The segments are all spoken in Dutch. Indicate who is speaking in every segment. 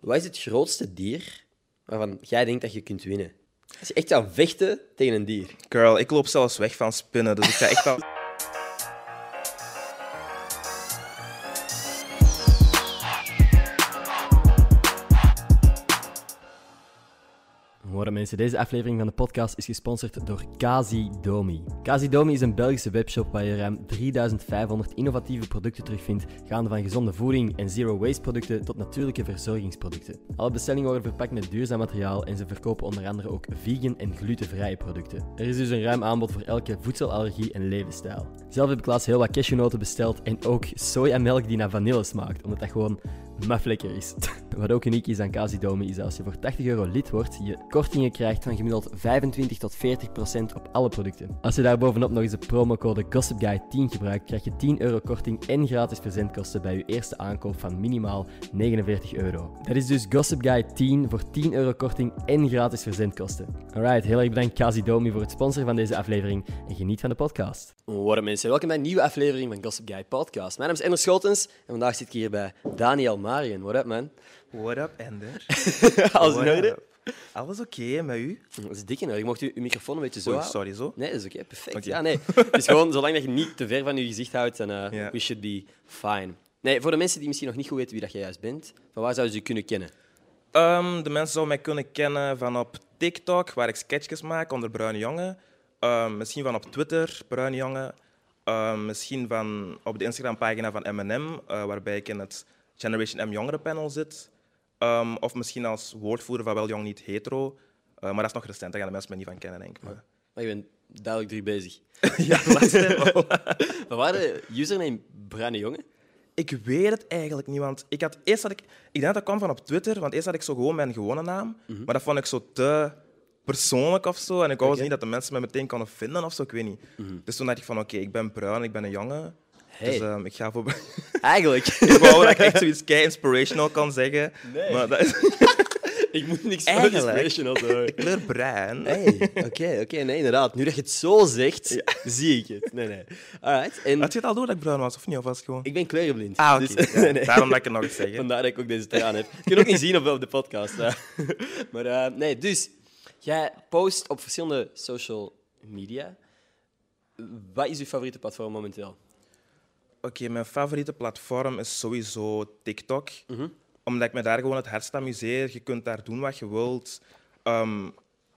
Speaker 1: Wat is het grootste dier waarvan jij denkt dat je kunt winnen? Als je echt zou vechten tegen een dier.
Speaker 2: Girl, ik loop zelfs weg van spinnen, dus ik ga echt al...
Speaker 3: Horen mensen, deze aflevering van de podcast is gesponsord door Kazi Domi. Kazi Domi is een Belgische webshop waar je ruim 3500 innovatieve producten terugvindt, gaande van gezonde voeding en zero waste producten tot natuurlijke verzorgingsproducten. Alle bestellingen worden verpakt met duurzaam materiaal en ze verkopen onder andere ook vegan en glutenvrije producten. Er is dus een ruim aanbod voor elke voedselallergie en levensstijl. Zelf heb ik laatst heel wat cashewnoten besteld en ook sojamelk die naar vanille smaakt, omdat dat gewoon maf lekker is. Wat ook uniek is aan Casidomi is dat als je voor 80 euro lid wordt, je kortingen krijgt van gemiddeld 25 tot 40 procent op alle producten. Als je daarbovenop nog eens de promocode GossipGuy10 gebruikt, krijg je 10 euro korting en gratis verzendkosten bij je eerste aankoop van minimaal 49 euro. Dat is dus GossipGuy10 voor 10 euro korting en gratis verzendkosten. Alright, heel erg bedankt Casidomi voor het sponsoren van deze aflevering en geniet van de podcast.
Speaker 1: Horen mensen, welkom bij een nieuwe aflevering van Gossip Guy Podcast. Mijn naam is Ender Schotens en vandaag zit ik hier bij Daniel Marion. What up, man?
Speaker 2: What up, Ender?
Speaker 1: Alles in
Speaker 2: What
Speaker 1: orde?
Speaker 2: up? Alles oké met u?
Speaker 1: Dat is dik in orde. Je mocht je je microfoon een beetje zo
Speaker 2: Oei,
Speaker 1: houden.
Speaker 2: sorry, zo?
Speaker 1: Nee, dat is oké, perfect.
Speaker 2: Oké.
Speaker 1: Ja, nee. Het is gewoon, zolang dat je niet te ver van je gezicht houdt, dan eh,
Speaker 2: Ja.
Speaker 1: we should be fine. Nee, voor de mensen die misschien nog niet goed weten wie dat jij juist bent, van waar zouden ze je kunnen kennen?
Speaker 2: Ehm, de mensen zouden mij kunnen kennen van op TikTok, waar ik sketchjes maak onder Bruine Jongen. Ehm, misschien van op Twitter, Bruine Jongen. Ehm, misschien van op de Instagram-pagina van M&M, eh, waarbij ik in het Generation M jongerenpanel zit. Ehm, of misschien als woordvoerder van Wel Jong Niet Hetero. Eh, maar dat is nog recent, daar gaan de mensen mij niet van kennen, denk ik. Maar...
Speaker 1: Maar je bent duidelijk druk bezig.
Speaker 2: Ja, laatste wel.
Speaker 1: Wat waren de username Bruine Jongen?
Speaker 2: Ik weet het eigenlijk niet, want ik had eerst had ik, ik denk dat dat kwam van op Twitter, want eerst had ik zo gewoon mijn gewone naam, maar dat vond ik zo te persoonlijk of zo, en ik wou dus niet dat de mensen me meteen konden vinden of zo, ik weet niet. Dus toen dacht ik van, oké, ik ben bruin, ik ben een jongen,
Speaker 1: Hey.
Speaker 2: dus ehm, ik ga voor.
Speaker 1: Eigenlijk.
Speaker 2: ik wou dat ik echt zoiets kei inspirational kan zeggen, maar dat is
Speaker 1: ik moet niks
Speaker 2: Eigenlijk.
Speaker 1: van inspirational
Speaker 2: de
Speaker 1: zeggen.
Speaker 2: kleur bruin.
Speaker 1: Hey, oké, oké, nee, inderdaad. Nu dat je het zo zegt, zie ik het. Nee, nee. Alright, en
Speaker 2: Had je het al door dat ik bruin was of niet, of was het gewoon?
Speaker 1: ik ben kleurenblind.
Speaker 2: Ah, oké.
Speaker 1: dus-
Speaker 2: ja,
Speaker 1: nee, nee.
Speaker 2: Daarom dat ik het nog eens zeg.
Speaker 1: Vandaar dat ik ook deze traan heb. Je kunt ook niet zien op, op de podcast. hè. maar eh, nee, dus jij post op verschillende social media. Wat is je favoriete platform momenteel?
Speaker 2: Oké, mijn favoriete platform is sowieso TikTok. Omdat ik me daar gewoon het hardst amuseer. Je kunt daar doen wat je wilt. Ehm,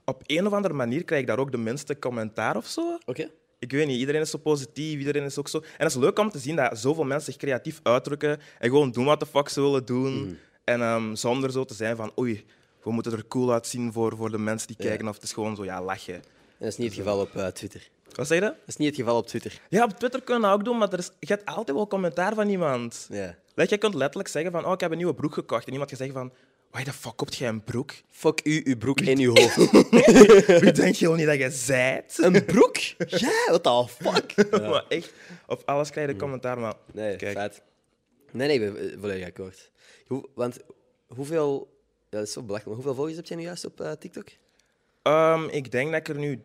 Speaker 2: op een of andere manier krijg ik daar ook de minste commentaar of zo.
Speaker 1: Oké.
Speaker 2: Ik weet niet, iedereen is zo positief, iedereen is ook zo... En het is leuk om te zien dat zoveel mensen zich creatief uitdrukken en gewoon doen wat de fuck ze willen doen. En ehm, zonder zo te zijn van, oei, we moeten er cool uitzien voor, voor de mensen die kijken. Of het is gewoon zo, ja, lachen.
Speaker 1: En dat is niet het geval op eh, Twitter.
Speaker 2: Wat zeg je? dat?
Speaker 1: Dat is niet het geval op Twitter.
Speaker 2: Ja, op Twitter kun je dat ook doen, maar er is, je hebt altijd wel commentaar van iemand.
Speaker 1: Ja.
Speaker 2: Like, je kunt letterlijk zeggen van, oh, ik heb een nieuwe broek gekocht. En iemand kan zeggen van, waar de fuck koopt jij een broek?
Speaker 1: Fuck u, uw broek en uw hoofd.
Speaker 2: Wie denk je wel niet dat jij zijt?
Speaker 1: Een broek? Ja, what the fuck?
Speaker 2: maar echt, op alles krijg je de commentaar, maar...
Speaker 1: Nee,
Speaker 2: Kijk.
Speaker 1: feit. Nee, nee, ik ben eh, volledig akkoord. Hoe- want hoeveel... Ja, dat is zo belachelijk, maar hoeveel volgers heb jij nu juist op eh, TikTok?
Speaker 2: Ehm, ik denk dat ik er nu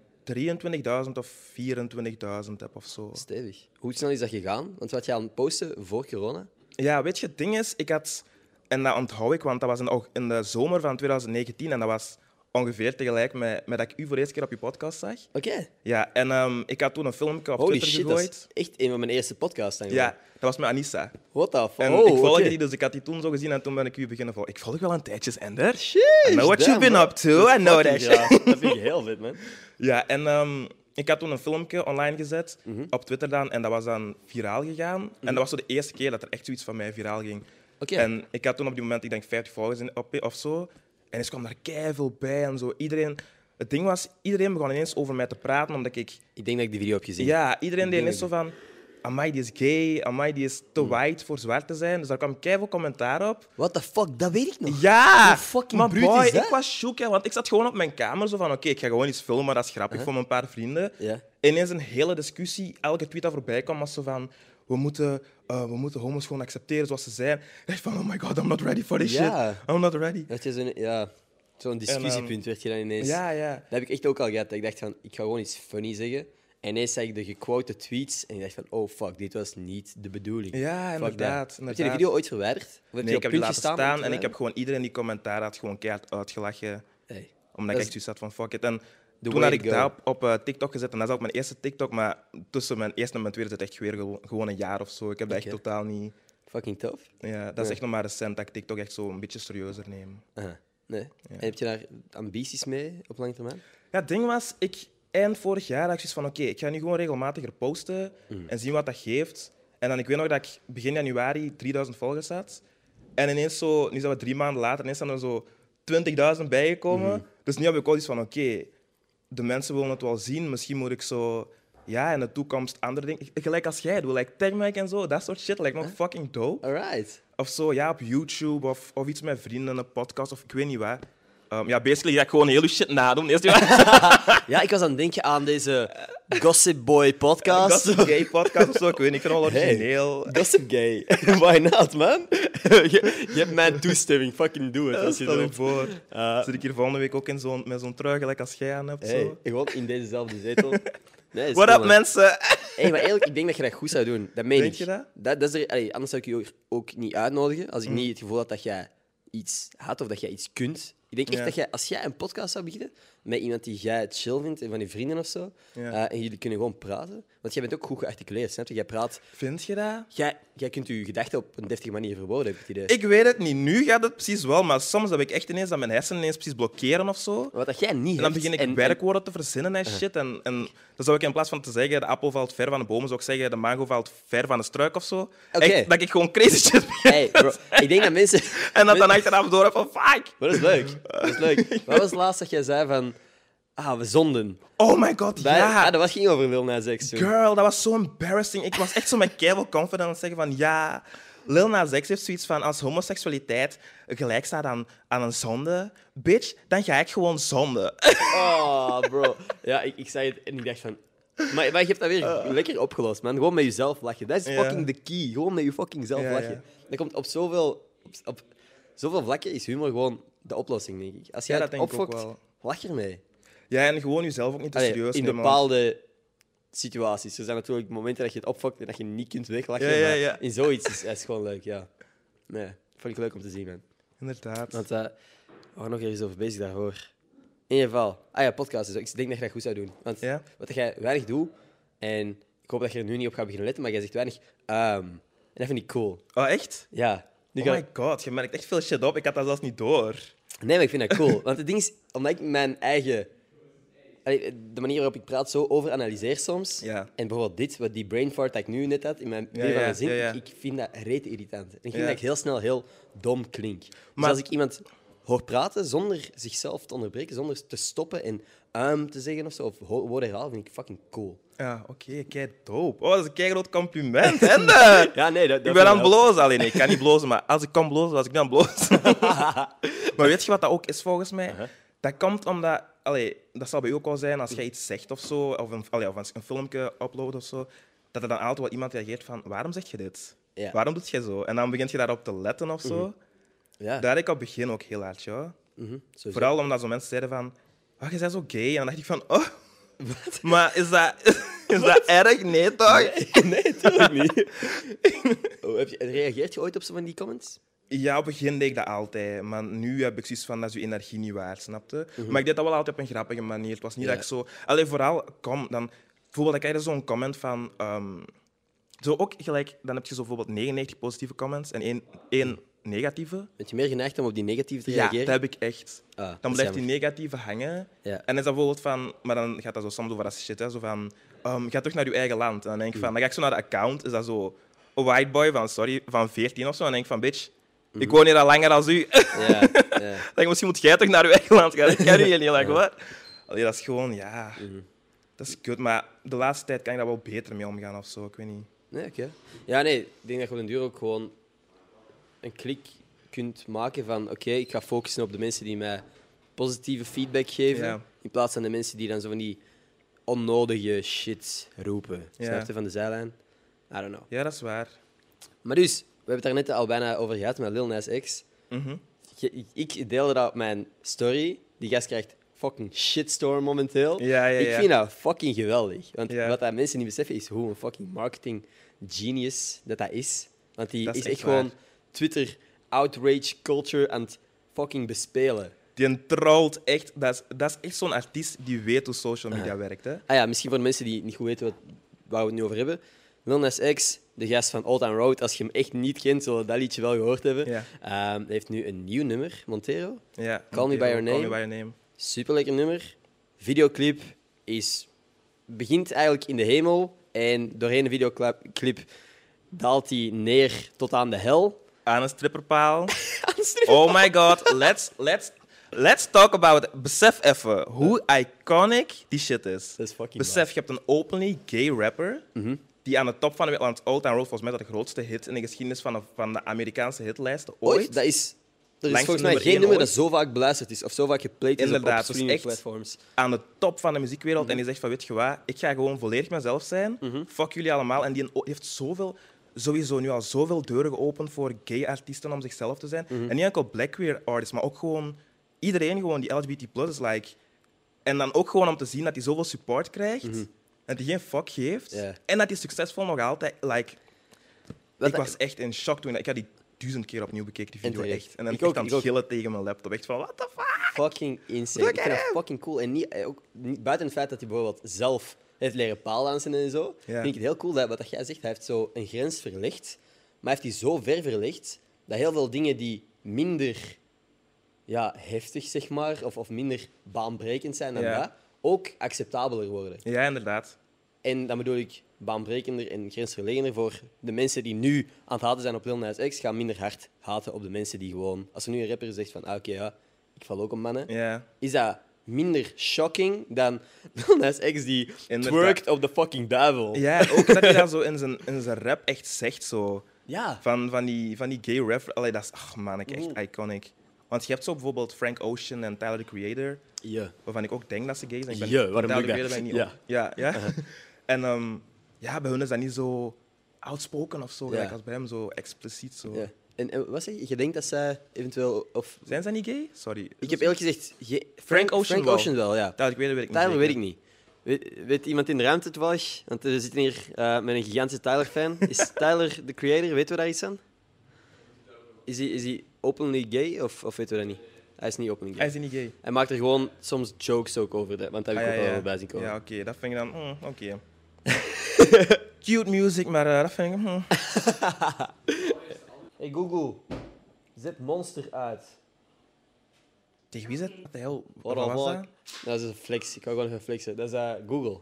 Speaker 2: 23.000 of 24.000 heb of zo.
Speaker 1: Stevig. Hoe snel is dat gegaan? Want wat jij aan het posten voor corona?
Speaker 2: Ja, weet je, het ding is, ik had... En dat onthoud ik, want dat was in, aug- in de zomer van 2019. En dat was ongeveer tegelijk met, met dat ik u voor de eerste keer op je podcast zag.
Speaker 1: Oké.
Speaker 2: Ja, en ehm, ik had toen een filmpje op
Speaker 1: Holy
Speaker 2: Twitter
Speaker 1: shit, dat
Speaker 2: gegooid.
Speaker 1: is echt een van mijn eerste podcasts. dan
Speaker 2: Ja,
Speaker 1: gewoon.
Speaker 2: dat was met Anissa.
Speaker 1: What the fuck?
Speaker 2: En
Speaker 1: oh,
Speaker 2: ik volgde
Speaker 1: oké.
Speaker 2: die, dus ik had die toen zo gezien en toen ben ik u beginnen volgen. Ik volg wel een tijdje, Ender.
Speaker 1: Sheesh,
Speaker 2: I know what
Speaker 1: damn,
Speaker 2: you've been
Speaker 1: man.
Speaker 2: up to, I know that
Speaker 1: Fucking
Speaker 2: shit.
Speaker 1: graaf. Dat vind ik heel vet, man.
Speaker 2: Ja, en ehm, ik had toen een filmpje online gezet,
Speaker 1: Mhm.
Speaker 2: op Twitter dan, en dat was dan viraal gegaan. En dat was zo de eerste keer dat er echt zoiets van mij viraal ging.
Speaker 1: Oké.
Speaker 2: En ik had toen op die moment, ik denk, 50 volgers in- op, of zo. En eens kwam daar keiveel bij en zo. Iedereen... Het ding was, iedereen begon ineens over mij te praten, omdat ik
Speaker 1: Ik denk dat ik die video heb gezien.
Speaker 2: ja, iedereen deed net zo van... Amai, die is gay. Amai, die is
Speaker 1: Mhm.
Speaker 2: te white voor zwart te zijn. Dus daar kwam keiveel commentaar op.
Speaker 1: What the fuck? Dat weet ik nog.
Speaker 2: Ja!
Speaker 1: Hoe fucking
Speaker 2: maar
Speaker 1: bruut
Speaker 2: boy,
Speaker 1: is dat?
Speaker 2: ik was shook, hè, want ik zat gewoon op mijn kamer zo van... Oké, ik ga gewoon iets filmen, dat is grappig voor mijn paar vrienden.
Speaker 1: Uh-huh. Ja.
Speaker 2: Ineens een hele discussie. Elke tweet dat voorbij kwam was zo van... We moeten, eh, we moeten homo's gewoon accepteren zoals ze zijn. Echt van, oh my god, I'm not ready for this
Speaker 1: Ja.
Speaker 2: shit. I'm not ready.
Speaker 1: Dat je zo'n ja, zo'n discussiepunt werd je dan ineens.
Speaker 2: Ja, ja.
Speaker 1: Dat heb ik echt ook al gehad. Dat ik dacht van, ik ga gewoon iets funny zeggen. En ineens zag ik de gequote tweets en ik dacht van, oh fuck, dit was niet de bedoeling.
Speaker 2: Ja,
Speaker 1: Fuck
Speaker 2: inderdaad,
Speaker 1: that. Heb je de
Speaker 2: inderdaad.
Speaker 1: video ooit verwijderd? Of heb je
Speaker 2: Nee, ik
Speaker 1: op
Speaker 2: heb die
Speaker 1: puntje
Speaker 2: laten
Speaker 1: staan om
Speaker 2: staan
Speaker 1: te
Speaker 2: en ik heb
Speaker 1: verwijderen?
Speaker 2: gewoon iedereen die commentaar had gewoon keihard uitgelachen.
Speaker 1: Hey.
Speaker 2: Omdat
Speaker 1: Dat
Speaker 2: ik
Speaker 1: is
Speaker 2: echt zoiets had van fuck it. En toen
Speaker 1: way
Speaker 2: had
Speaker 1: to
Speaker 2: ik
Speaker 1: go.
Speaker 2: daar op, op, eh, TikTok gezet en dat is ook mijn eerste TikTok. Maar tussen mijn eerste en mijn tweede zit echt weer gewo- gewoon een jaar of zo. Ik heb dat
Speaker 1: Oké.
Speaker 2: echt totaal niet...
Speaker 1: Fucking tof.
Speaker 2: Ja, dat is echt nog maar recent dat ik TikTok echt zo een beetje serieuzer neem.
Speaker 1: Aha. Nee. En heb je daar ambities mee op lange termijn?
Speaker 2: Ja, het ding was, ik eind vorig jaar had ik zoiets van, oké, ik ga nu gewoon regelmatiger posten en zien wat dat geeft. En dan, ik weet nog dat ik begin januari 3000 volgers had. En ineens zo, nu zijn we drie maanden later, ineens zijn er zo 20.000 bijgekomen. Dus nu heb ik ook iets van, oké, de mensen willen het wel zien. Misschien moet ik zo, ja, in de toekomst andere dingen... Gelijk als jij doet, like tagmaken en zo, dat soort shit lijkt me ook fucking dope.
Speaker 1: Alright.
Speaker 2: Of zo, ja, op YouTube of, of iets met vrienden, een podcast of ik weet niet wat. Ehm, ja, basically ga ik gewoon heel uw shit nadoen. Eerst
Speaker 1: Ja, ik was aan het denken aan deze Gossip Boy podcast.
Speaker 2: Gossip Gay podcast of zo, ik weet niet, ik vind het wel
Speaker 1: Hey.
Speaker 2: origineel.
Speaker 1: Gossip Gay. Why not, man? je, je hebt mijn toestemming. Fucking doe het. Als je
Speaker 2: Stel je
Speaker 1: erop-
Speaker 2: voor,
Speaker 1: Eh,
Speaker 2: zit ik hier volgende week ook in zo'n, met zo'n trui gelijk als jij aan hebt.
Speaker 1: Hey,
Speaker 2: Zo.
Speaker 1: gewoon in dezezelfde zetel. Nee, is
Speaker 2: What
Speaker 1: cool,
Speaker 2: up,
Speaker 1: man.
Speaker 2: mensen?
Speaker 1: Hey, maar eerlijk, ik denk dat je dat goed zou doen. Dat meen
Speaker 2: Denk
Speaker 1: ik.
Speaker 2: je dat? Mm.
Speaker 1: dat is er, allee, anders zou ik je ook- ook niet uitnodigen als ik niet het gevoel had dat jij iets had of dat jij iets kunt. Ik denk echt
Speaker 2: Ja.
Speaker 1: dat jij, als jij een podcast zou beginnen met iemand die jij chill vindt en van je vrienden of zo,
Speaker 2: Ja.
Speaker 1: eh, en jullie kunnen gewoon praten, want jij bent ook goed gearticuleerd, snap je? Jij praat,
Speaker 2: Vind je dat?
Speaker 1: jij, jij kunt je gedachten op een deftige manier verwoorden, heb ik het idee.
Speaker 2: Ik weet het niet, nu gaat het precies wel, maar soms heb ik echt ineens dat mijn hersenen ineens precies blokkeren of zo.
Speaker 1: Maar Wat dat jij niet
Speaker 2: En dan
Speaker 1: hebt,
Speaker 2: begin ik
Speaker 1: en- Uh-huh. en-
Speaker 2: werkwoorden te verzinnen en shit. En, en dan zou ik in plaats van te zeggen, de appel valt ver van de bomen, zou ik zeggen, de mango valt ver van de struik of zo.
Speaker 1: Oké.
Speaker 2: Echt, dat ik gewoon crazy shit begin.
Speaker 1: Hey, bro, ik denk dat mensen...
Speaker 2: En dat dan achteraf door heb van, fuck.
Speaker 1: Maar dat is leuk. Dat is leuk. Wat was het laatst dat jij zei van... Ah, we zonden.
Speaker 2: Oh my god,
Speaker 1: Wij-
Speaker 2: ja.
Speaker 1: ah, dat was ging over Lil Nas X toen.
Speaker 2: Girl, dat was zo embarrassing. Ik was echt zo met keihard confident aan het zeggen van ja. Lil Nas X heeft zoiets van als homoseksualiteit gelijk staat aan, aan een zonde, bitch, dan ga ik gewoon zonde.
Speaker 1: Oh, bro. Ja, ik, ik zei het en ik dacht van... Maar, maar je hebt dat weer lekker opgelost, man. Gewoon met jezelf lachen. Dat is
Speaker 2: Ah. Ja.
Speaker 1: fucking de key. Gewoon met je fucking zelf
Speaker 2: Ja,
Speaker 1: lachen.
Speaker 2: ja.
Speaker 1: Dat komt op zoveel... Op, op zoveel vlakken is humor gewoon de oplossing, denk ik. Als jij
Speaker 2: Ja,
Speaker 1: dat
Speaker 2: dat
Speaker 1: het
Speaker 2: denk ik ook
Speaker 1: opfokt, lach ermee.
Speaker 2: Ja, en gewoon jezelf ook niet te
Speaker 1: Allee,
Speaker 2: serieus
Speaker 1: in
Speaker 2: nemen.
Speaker 1: bepaalde situaties. Er zijn natuurlijk momenten dat je het opfokt en dat je niet kunt weglachen.
Speaker 2: Ja, ja,
Speaker 1: maar
Speaker 2: ja.
Speaker 1: in zoiets is is gewoon leuk, ja. Nee, vond ik leuk om te zien, man.
Speaker 2: Inderdaad.
Speaker 1: Want eh, we waren nog ergens over bezig daarvoor. In ieder geval. Ah ja, podcast is ook. Ik denk dat je dat goed zou doen. Want
Speaker 2: Ja.
Speaker 1: wat jij weinig doet, en ik hoop dat je er nu niet op gaat beginnen letten, maar jij zegt weinig. ehm, en dat vind ik cool.
Speaker 2: Oh, echt?
Speaker 1: Ja. Nu
Speaker 2: Oh
Speaker 1: ga-
Speaker 2: my god, je merkt echt veel shit op. Ik had dat zelfs niet door.
Speaker 1: Nee, maar ik vind dat cool. Want het ding is, omdat ik mijn eigen... Allee, de manier waarop ik praat zo overanalyseer soms.
Speaker 2: Ja.
Speaker 1: En bijvoorbeeld dit, wat die brain fart dat ik nu net had, in mijn
Speaker 2: Ja,
Speaker 1: midden van
Speaker 2: ja,
Speaker 1: mijn zin,
Speaker 2: ja, ja.
Speaker 1: Ik, ik vind dat reet irritant. En ik vind
Speaker 2: Ja.
Speaker 1: dat ik heel snel heel dom klink. Maar
Speaker 2: Maar-
Speaker 1: als ik iemand hoor praten zonder zichzelf te onderbreken, zonder te stoppen en um te zeggen of zo, of ho- woorden herhalen, vind ik fucking cool.
Speaker 2: Ja, oké, kei dope. Oh, dat is een kei groot compliment, hè? eh.
Speaker 1: Ja, nee, dat,
Speaker 2: Ik ben aan het blozen alleen. Ik kan niet blozen, maar als ik kan blozen, was ik dan blozen. maar weet je wat dat ook is volgens mij? Dat komt omdat, allee, dat zal bij u ook wel zijn, als jij iets zegt of zo, of een, allee, of een, een filmpje uploadt of zo, dat er dan altijd wel iemand reageert van: waarom zeg je dit?
Speaker 1: Ja.
Speaker 2: Waarom doet je zo? En dan begint je daarop te letten of zo.
Speaker 1: Ja,
Speaker 2: Daar had ik op het begin ook heel hard, joh.
Speaker 1: mhm, sowieso.
Speaker 2: Vooral omdat zo mensen zeiden van, oh, je bent zo gay. En dan dacht ik van, oh, maar is dat, is dat erg? Nee, toch?
Speaker 1: nee, natuurlijk niet. Oh, heb je, reageert je ooit op zo van die comments?
Speaker 2: Ja, op het begin deed ik dat altijd. Maar nu heb ik zoiets van, dat is je energie niet waar, snapte? Maar ik deed dat wel altijd op een grappige manier. Het was niet
Speaker 1: Mhm. Ja.
Speaker 2: dat ik zo... Alleen vooral, kom, dan... Bijvoorbeeld, dan krijg je zo'n comment van... ehm, zo ook gelijk, dan heb je zo bijvoorbeeld 99 positieve comments en één, één negatieve.
Speaker 1: Ben je meer geneigd om op die negatieve te
Speaker 2: Ja,
Speaker 1: reageren?
Speaker 2: dat heb ik echt.
Speaker 1: Ah, dat
Speaker 2: dan
Speaker 1: is
Speaker 2: blijft die
Speaker 1: jammer.
Speaker 2: negatieve hangen.
Speaker 1: Ja.
Speaker 2: En is dat bijvoorbeeld van... Maar dan gaat dat zo soms over dat shit, hè. Zo van, ehm, ga terug naar je eigen land. En dan
Speaker 1: Mm.
Speaker 2: denk ik van... Dan ga ik zo naar de account. Is dat zo een white boy van, sorry, van 14 of zo? En dan denk ik van, bitch,
Speaker 1: Mm.
Speaker 2: ik woon hier al langer dan u.
Speaker 1: Ja, ja.
Speaker 2: Dan denk ik, misschien moet jij toch naar uw eigen land gaan. Ik ken je niet, like, wat? Allee, dat is gewoon, ja...
Speaker 1: Mm.
Speaker 2: Dat is kut, maar de laatste tijd kan ik daar wel beter mee omgaan of zo. Ik weet niet.
Speaker 1: Nee, oké. Ja, nee, ik denk dat je op den duur ook gewoon een klik kunt maken van oké, ik ga focussen op de mensen die mij positieve feedback geven,
Speaker 2: Ja.
Speaker 1: in plaats van de mensen die dan zo van die onnodige shit roepen.
Speaker 2: Ja.
Speaker 1: Snap je, van de zijlijn? I don't know.
Speaker 2: Ja, dat is waar.
Speaker 1: Maar dus, we hebben het daar net al bijna over gehad met Lil Nas X.
Speaker 2: Mhm.
Speaker 1: Je- ik deelde dat op mijn story. Die gast krijgt fucking shitstorm momenteel.
Speaker 2: Ja, ja,
Speaker 1: Ik
Speaker 2: ja.
Speaker 1: vind dat fucking geweldig. Want
Speaker 2: Ja.
Speaker 1: wat dat mensen niet beseffen is hoe een fucking marketing genius dat dat is. Want die
Speaker 2: Dat
Speaker 1: is,
Speaker 2: is
Speaker 1: echt
Speaker 2: echt
Speaker 1: gewoon
Speaker 2: waar.
Speaker 1: Twitter outrage culture aan het fucking bespelen.
Speaker 2: Die trolt echt. Dat is, dat is echt zo'n artiest die weet hoe social media werkt. Hè.
Speaker 1: Ah ja, misschien voor de mensen die niet goed weten wat, waar we het nu over hebben. Lil Nas X, de gast van Old Town Road. Als je hem echt niet kent, zullen we dat liedje wel gehoord hebben.
Speaker 2: Ja.
Speaker 1: Ehm, hij heeft nu een nieuw nummer, Montero.
Speaker 2: Ja. oh,
Speaker 1: Call Me By Your
Speaker 2: Call
Speaker 1: Name.
Speaker 2: me by your name.
Speaker 1: Super lekker nummer. Videoclip is, begint eigenlijk in de hemel. En doorheen de videoclip daalt hij neer tot aan de hel.
Speaker 2: Aan een stripperpaal. Oh my god, let's, let's, let's talk about it. Besef even hoe iconic die shit is.
Speaker 1: Dat is fucking Mhm.
Speaker 2: Besef, je hebt een openly gay rapper die aan de top van de wereld... Want Old Town Road volgens mij dat de grootste hit in de geschiedenis van de, van de Amerikaanse hitlijsten
Speaker 1: Ooit?
Speaker 2: ooit.
Speaker 1: Dat is, er is volgens
Speaker 2: Langste
Speaker 1: mij
Speaker 2: nummer
Speaker 1: geen
Speaker 2: één
Speaker 1: nummer dat
Speaker 2: ooit.
Speaker 1: zo vaak beluisterd is. Of zo vaak geplayed is op- op,
Speaker 2: Inderdaad, dus
Speaker 1: streaming
Speaker 2: echt-
Speaker 1: platforms.
Speaker 2: Aan de top van de muziekwereld
Speaker 1: Mhm.
Speaker 2: en die zegt van, weet je wat, ik ga gewoon volledig mezelf zijn. Fuck jullie allemaal. En die heeft zoveel... Sowieso nu al zoveel deuren geopend voor gay artiesten om zichzelf te
Speaker 1: Mhm.
Speaker 2: zijn. En niet enkel black queer artists, maar ook gewoon iedereen gewoon die LGBT plus is. Like, En dan ook gewoon om te zien dat hij zoveel support krijgt. Dat hij geen fuck geeft.
Speaker 1: Mhm. Ja.
Speaker 2: En dat hij succesvol nog altijd. Like,
Speaker 1: Wat
Speaker 2: ik was echt in shock toen. Ik had die duizend keer opnieuw bekeken, die
Speaker 1: En
Speaker 2: video.
Speaker 1: terecht.
Speaker 2: Echt. En dan
Speaker 1: Ik
Speaker 2: ik echt
Speaker 1: ook,
Speaker 2: aan
Speaker 1: ik
Speaker 2: het
Speaker 1: ook.
Speaker 2: gillen tegen mijn laptop. Echt van, what the fuck?
Speaker 1: Fucking insane.
Speaker 2: Look
Speaker 1: Ik vind
Speaker 2: at
Speaker 1: dat
Speaker 2: him.
Speaker 1: fucking cool. En niet, eh, ook, niet- buiten het feit dat hij bijvoorbeeld zelf heeft leren paaldansen en zo, vind ik het heel cool dat wat dat jij zegt, hij heeft zo een grens verlegd, maar heeft die zo ver verlegd dat heel veel dingen die minder ja, heftig, zeg maar, of, of minder baanbrekend zijn dan
Speaker 2: Ja.
Speaker 1: dat, ook acceptabeler worden.
Speaker 2: Ja, inderdaad.
Speaker 1: En dan bedoel ik baanbrekender en grensverleggender voor de mensen die nu aan het haten zijn op Lil Nas X, gaan minder hard haten op de mensen die gewoon... Als er nu een rapper zegt van, ah, oké, ja, ik val ook op mannen,
Speaker 2: Ja.
Speaker 1: is dat minder shocking dan Lil Nas X die
Speaker 2: Inderdaad.
Speaker 1: twerkt op de fucking duivel.
Speaker 2: Ja, en ook dat hij dat zo in zijn, in zijn rap echt zegt. Zo.
Speaker 1: Ja.
Speaker 2: Van, van, die, van die gay rap. Allee, dat is, ach man, ik echt iconic. Want je hebt zo bijvoorbeeld Frank Ocean en Tyler, the Creator.
Speaker 1: Ja.
Speaker 2: waarvan ik ook denk dat ze gay zijn. Ik ben-
Speaker 1: Ja, waarom
Speaker 2: Tyler,
Speaker 1: doe ik
Speaker 2: the
Speaker 1: dat?
Speaker 2: Creator ben ik
Speaker 1: Ja. Uh-huh.
Speaker 2: niet op- Ja, ja. En ehm, ja, bij hun is dat niet zo outspoken of zo.
Speaker 1: Ja.
Speaker 2: gelijk als bij hem zo expliciet. Zo.
Speaker 1: Ja. En, en wat zeg je? Je denkt dat zij eventueel... Of,
Speaker 2: Zijn zij niet gay? Sorry. Is
Speaker 1: ik
Speaker 2: dat
Speaker 1: heb
Speaker 2: zo?
Speaker 1: eerlijk gezegd... ge-
Speaker 2: Frank Ocean
Speaker 1: Frank
Speaker 2: wel.
Speaker 1: Ocean wel, ja.
Speaker 2: Tyler, ik weet, het, weet ik niet.
Speaker 1: Tyler weet ik
Speaker 2: zeker.
Speaker 1: niet. Weet, weet iemand in de ruimte toevallig? Want we zitten hier eh, met een gigantische Tyler-fan. Is Tyler de creator? Weten we daar iets aan? Is hij, is hij openly gay of, of weten we dat niet? Hij is niet openly
Speaker 2: Hij
Speaker 1: gay.
Speaker 2: is niet gay.
Speaker 1: Hij maakt er gewoon soms jokes ook over, dat- want daar heb ik
Speaker 2: Ah,
Speaker 1: ook wel bij zien komen.
Speaker 2: Ja, oké, dat vind ik dan. mm, oké. Cute music, maar eh, dat vind ik. mm.
Speaker 1: Hey Google, zet Monster uit.
Speaker 2: Tegen wie is dat? Wat de hel?
Speaker 1: Wat
Speaker 2: Wat was dat?
Speaker 1: Dat is een flex. Ik kan gewoon even flexen. Dat is eh, Google.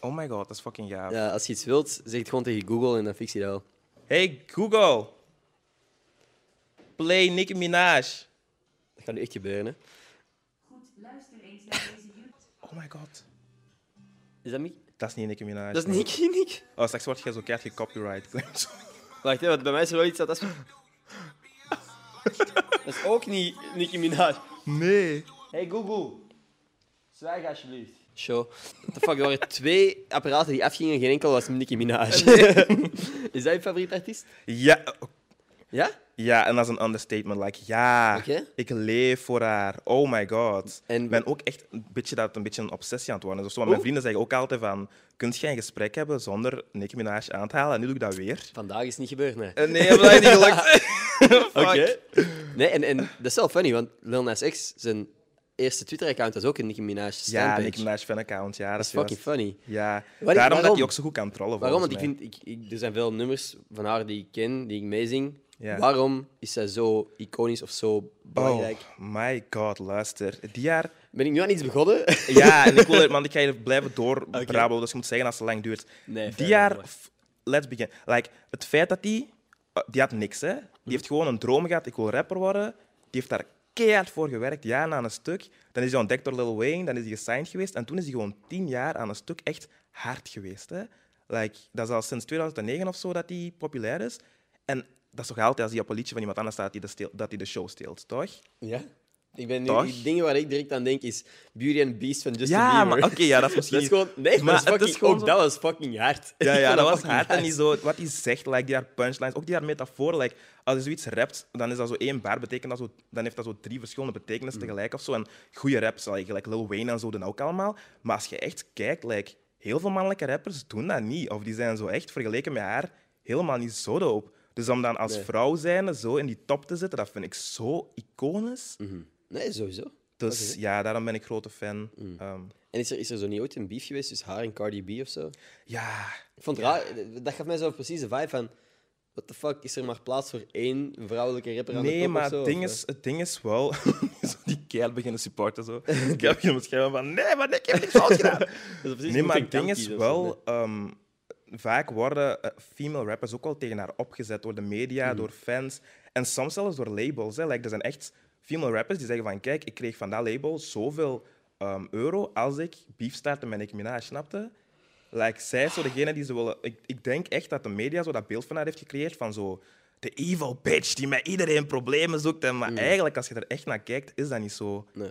Speaker 2: Oh my god, dat is fucking gaaf.
Speaker 1: Ja, als je iets wilt, zeg het gewoon tegen Google en dan fix je dat wel.
Speaker 2: Hey Google, play Nicki Minaj.
Speaker 1: Dat gaat nu echt gebeuren, hè?
Speaker 4: Goed, luister eens naar deze YouTube.
Speaker 2: Oh my god,
Speaker 1: Is dat Mick?
Speaker 2: dat is niet Nicki Minaj.
Speaker 1: Dat is Nicky, Nick.
Speaker 2: Oh, straks word je zo keihard gecopyright.
Speaker 1: Wacht, hè, want bij mij is er wel iets dat... Dat is, dat is ook niet Nicki Minaj.
Speaker 2: nee.
Speaker 1: Hey Google, zwijg alsjeblieft. Show. What the fuck, er waren twee apparaten die afgingen en geen enkel was Nicki Minaj. is dat je favoriete artiest?
Speaker 2: Ja, eh,
Speaker 1: Ja?
Speaker 2: ja, en dat is een understatement. Like, ja,
Speaker 1: Oké.
Speaker 2: ik leef voor haar. Oh my god.
Speaker 1: En-
Speaker 2: Ik ben ook echt een beetje, dat het een, beetje een obsessie aan het worden. is of zo. Want
Speaker 1: Oeh.
Speaker 2: mijn vrienden zeggen ook altijd van, kun je een gesprek hebben zonder Nicki Minaj aan te halen? En nu doe ik dat weer.
Speaker 1: Vandaag is het niet gebeurd, nee.
Speaker 2: Eh, Nee, dat is niet gelukt.
Speaker 1: Oké. Nee, en, en dat is wel funny, want Lil Nas X, zijn eerste Twitter-account, was ook een Nicki Minaj
Speaker 2: Ja,
Speaker 1: standpage.
Speaker 2: Nicki Minaj fan-account. Ja, dat is
Speaker 1: Fucking
Speaker 2: juist.
Speaker 1: funny.
Speaker 2: Ja,
Speaker 1: Waar-
Speaker 2: daarom dat
Speaker 1: waarom?
Speaker 2: hij ook zo goed kan trollen.
Speaker 1: Waarom? Want ik
Speaker 2: volgens mij.
Speaker 1: vind, ik, ik- er zijn veel nummers van haar die ik ken, die ik meezing.
Speaker 2: Ja.
Speaker 1: Waarom is zij zo iconisch of zo belangrijk?
Speaker 2: Oh my god, luister. Die jaar...
Speaker 1: Ben ik nu aan iets begonnen?
Speaker 2: Ja, en ik wil... het- Want ik ga hier blijven doorbrabbelen, dus je moet zeggen als het lang duurt.
Speaker 1: Nee,
Speaker 2: die
Speaker 1: verder,
Speaker 2: jaar...
Speaker 1: maar.
Speaker 2: f- Let's begin. Like, het feit dat die... eh, Die had niks, hè. Die
Speaker 1: Mhm.
Speaker 2: heeft gewoon een droom gehad. Ik wil rapper worden. Die heeft daar keihard voor gewerkt, jaren aan een stuk. Dan is hij ontdekt door Lil Wayne, dan is hij gesigned geweest. En toen is hij gewoon tien jaar aan een stuk echt hard geweest, hè. Like, dat is al sinds 2009 of zo dat hij populair is. En dat is toch altijd als hij op een liedje van iemand anders staat die de, steel- dat hij de show steelt, toch?
Speaker 1: ja? Ik ben nu,
Speaker 2: Toch?
Speaker 1: die dingen waar ik direct aan denk is Beauty and Beast van Justin
Speaker 2: Ja,
Speaker 1: Bieber.
Speaker 2: maar oké, ja, dat is misschien
Speaker 1: dat is gewoon... Nee, maar,
Speaker 2: Maar
Speaker 1: dat is
Speaker 2: het is
Speaker 1: fucking,
Speaker 2: gewoon
Speaker 1: ook
Speaker 2: zo-
Speaker 1: dat was fucking hard.
Speaker 2: Ja,
Speaker 1: Ik
Speaker 2: ja
Speaker 1: vond
Speaker 2: dat was
Speaker 1: fucking
Speaker 2: hard en niet zo wat hij zegt, like, die haar punchlines, ook die haar metafoor. Like, als hij zoiets rapt, dan is dat zo één bar, betekent dat zo, dan heeft dat zo drie verschillende betekenissen tegelijk of zo. En goede raps, like, like Lil Wayne en zo doen dat ook allemaal. Maar als je echt kijkt, like, heel veel mannelijke rappers doen dat niet. Of die zijn zo echt vergeleken met haar helemaal niet zo dope. Dus om dan als vrouw zijnde zo in die top te zitten, dat vind ik zo iconisch.
Speaker 1: Nee, sowieso.
Speaker 2: Dus ja, daarom ben ik grote fan. Ehm,
Speaker 1: En is er, is er zo niet ooit een beef geweest tussen haar en Cardi B of zo?
Speaker 2: ja,
Speaker 1: Ik vond het raar. eh, Dat gaf mij zo precies de vibe van... What the fuck, is er maar plaats voor één vrouwelijke rapper aan de top
Speaker 2: Nee,
Speaker 1: of
Speaker 2: maar
Speaker 1: zo,
Speaker 2: het
Speaker 1: of
Speaker 2: ding,
Speaker 1: wat?
Speaker 2: is, het ding is wel... zo die keil beginnen supporten, zo. Ik heb hier misschien van... Nee, maar ik heb niks fout gedaan.
Speaker 1: Dat is precies, je
Speaker 2: nee,
Speaker 1: moet
Speaker 2: maar
Speaker 1: een
Speaker 2: het ding
Speaker 1: kant
Speaker 2: is
Speaker 1: kiezen of zo, nee.
Speaker 2: wel... ehm, vaak worden eh, female rappers ook wel tegen haar opgezet door de media,
Speaker 1: Hmm.
Speaker 2: door fans. En soms zelfs door labels. Hè. Like, er zijn echt female rappers die zeggen van... Kijk, ik kreeg van dat label zoveel ehm, euro als ik beef startte met Nicki Minaj, snapte? Like, zij is zo degene die ze willen... Ik, ik denk echt dat de media zo dat beeld van haar heeft gecreëerd van zo... De evil bitch die met iedereen problemen zoekt. En,
Speaker 1: Hmm.
Speaker 2: maar eigenlijk, als je er echt naar kijkt, is dat niet zo.
Speaker 1: Nee.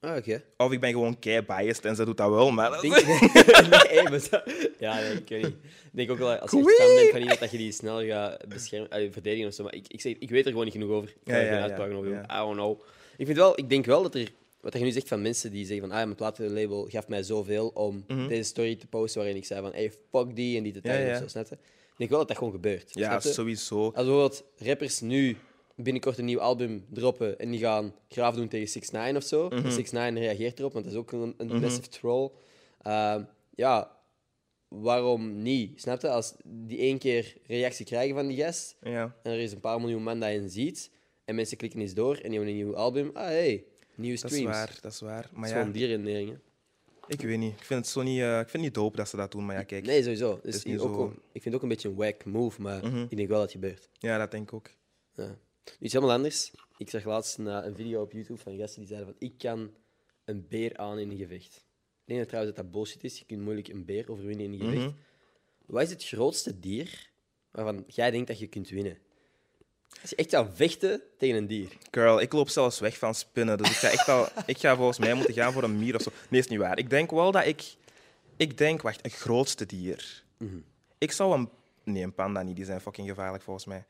Speaker 1: Ah, oké.
Speaker 2: Of ik ben gewoon kei-biased en ze doet dat wel, maar... dat-
Speaker 1: Denk- nee, maar zo- Ja, nee, ik weet niet. Ik denk ook wel, dat als je echt fan bent van iemand, dat je die snel gaat beschermen, eh, verdedigen of zo. Maar ik, ik, zeg, ik weet er gewoon niet genoeg over. Ik kan
Speaker 2: Ja,
Speaker 1: er geen
Speaker 2: ja, ja.
Speaker 1: uitspraak over doen.
Speaker 2: Ja.
Speaker 1: I don't know. Ik, vind wel, ik denk wel dat er... Wat je nu zegt van mensen die zeggen van ah, mijn platenlabel gaf mij zoveel om deze story te posten waarin ik zei van hey, fuck die en die te taggen
Speaker 2: Mhm. Ja, ja.
Speaker 1: of zo, snap je? Ik denk wel dat eh, dat gewoon gebeurt.
Speaker 2: Ja,
Speaker 1: snap je?
Speaker 2: sowieso.
Speaker 1: Als bijvoorbeeld rappers nu binnenkort een nieuw album droppen en die gaan graaf doen tegen 6 9 of zo. 6 9 reageert erop, want dat is ook een, een massive troll. Ehm, ja, waarom niet? Snap je? Als die één keer reactie krijgen van die gast
Speaker 2: Ja.
Speaker 1: en er is een paar miljoen man dat je ziet en mensen klikken eens door en die hebben een nieuw album. Ah, hey, nieuwe
Speaker 2: Dat is
Speaker 1: streams.
Speaker 2: waar, dat is waar.
Speaker 1: Dat
Speaker 2: Maar
Speaker 1: is
Speaker 2: ja,
Speaker 1: gewoon dierenering. hè.
Speaker 2: ik weet niet. Ik vind het zo niet, eh, ik vind het niet dope dat ze dat doen, maar ja, kijk.
Speaker 1: Nee, sowieso. Dus
Speaker 2: is niet
Speaker 1: ook,
Speaker 2: zo-
Speaker 1: Ik vind het ook een beetje een whack move, maar ik denk wel dat het gebeurt.
Speaker 2: Ja, dat denk ik ook.
Speaker 1: Ja. Nu iets helemaal anders. Ik zag laatst een, eh, een video op YouTube van gasten die zeiden van ik kan een beer aan in een gevecht. Ik denk dat trouwens dat dat bullshit is. Je kunt moeilijk een beer overwinnen in een gevecht.
Speaker 2: Mhm.
Speaker 1: Wat is het grootste dier waarvan jij denkt dat je kunt winnen? Als je echt zou vechten tegen een dier.
Speaker 2: Girl, ik loop zelfs weg van spinnen, dus ik ga echt al, ik ga volgens mij moeten gaan voor een mier of zo. Nee, is niet waar. Ik denk wel dat ik, ik denk, wacht, een grootste dier.
Speaker 1: Mhm.
Speaker 2: Ik zou een, nee, een panda niet, die zijn fucking gevaarlijk volgens mij.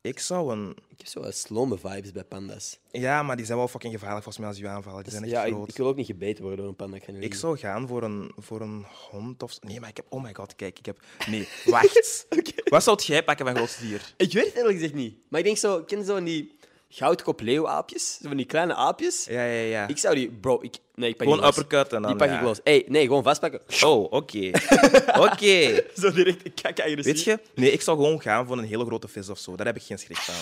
Speaker 2: Ik zou een,
Speaker 1: Ik heb zo wat slome vibes bij panda's.
Speaker 2: ja, maar die zijn wel fucking gevaarlijk volgens mij als die je aanvallen. Die zijn echt
Speaker 1: Dus ja, ik,
Speaker 2: groot.
Speaker 1: ik wil ook niet gebeten worden door een panda. Ik, ga niet
Speaker 2: Ik
Speaker 1: liegen.
Speaker 2: zou gaan voor een, voor een hond of... Nee, maar ik heb... Oh my god, kijk, ik heb... Nee, wacht. Wat zou jij pakken van grootste dier?
Speaker 1: ik weet het eerlijk gezegd niet. Maar ik denk zo, ken je zo van die goudkop leeuwaapjes? Zo van die kleine aapjes?
Speaker 2: Ja, ja, ja.
Speaker 1: Ik zou die, bro, ik, nee, ik pak
Speaker 2: Gewoon
Speaker 1: die los.
Speaker 2: uppercut en dan...
Speaker 1: Die pak
Speaker 2: ja.
Speaker 1: ik los. Hey, nee, gewoon vastpakken.
Speaker 2: Oh, oké. Oké.
Speaker 1: Zo direct, ik kijk eigenlijk
Speaker 2: Weet je? Nee, ik zou gewoon gaan voor een hele grote vis of zo. Daar heb ik geen schrik van.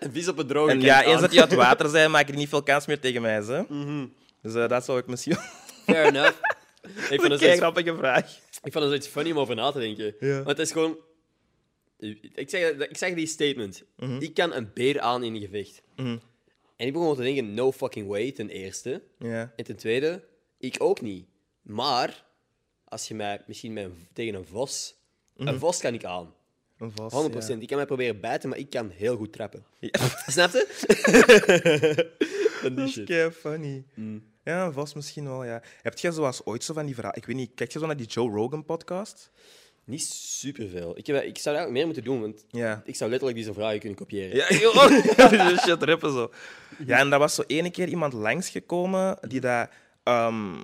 Speaker 1: Een vis op het droge.
Speaker 2: En
Speaker 1: kent
Speaker 2: ja,
Speaker 1: aan. Mhm.
Speaker 2: eens dat die uit het water zijn, maken die niet veel kans meer tegen mij. Hè? Dus eh, dat zou ik misschien...
Speaker 1: Fair enough. ik, vond dat
Speaker 2: Een kei
Speaker 1: zoiets,
Speaker 2: grappige vraag.
Speaker 1: ik vond dat zoiets funny om over na te denken. Want het is gewoon... Ik zeg, ik zeg die statement.
Speaker 2: Mhm.
Speaker 1: Ik kan een beer aan in een gevecht. En ik begon gewoon te denken, no fucking way, ten eerste.
Speaker 2: Ja.
Speaker 1: En ten tweede, ik ook niet. Maar, als je mij misschien met een- tegen een vos...
Speaker 2: Mhm.
Speaker 1: Een vos kan ik aan.
Speaker 2: Een vos,
Speaker 1: 100%.
Speaker 2: ja.
Speaker 1: Ik kan mij proberen bijten, maar ik kan heel goed trappen.
Speaker 2: Ja.
Speaker 1: Snap je? Dan die
Speaker 2: Dat is
Speaker 1: shit. Mm.
Speaker 2: kei funny. Ja, vast misschien wel, ja. Heb jij zoals ooit zo van die verhaal... Ik weet niet, kijk je zo naar die Joe Rogan-podcast?
Speaker 1: Niet superveel. Ik, heb, ik zou daar meer moeten doen, want
Speaker 2: Ja.
Speaker 1: ik zou letterlijk die zijn vragen kunnen kopiëren.
Speaker 2: Ja, joh. shit, rippen zo. Ja, en daar was zo ene keer iemand langsgekomen die dat... ehm,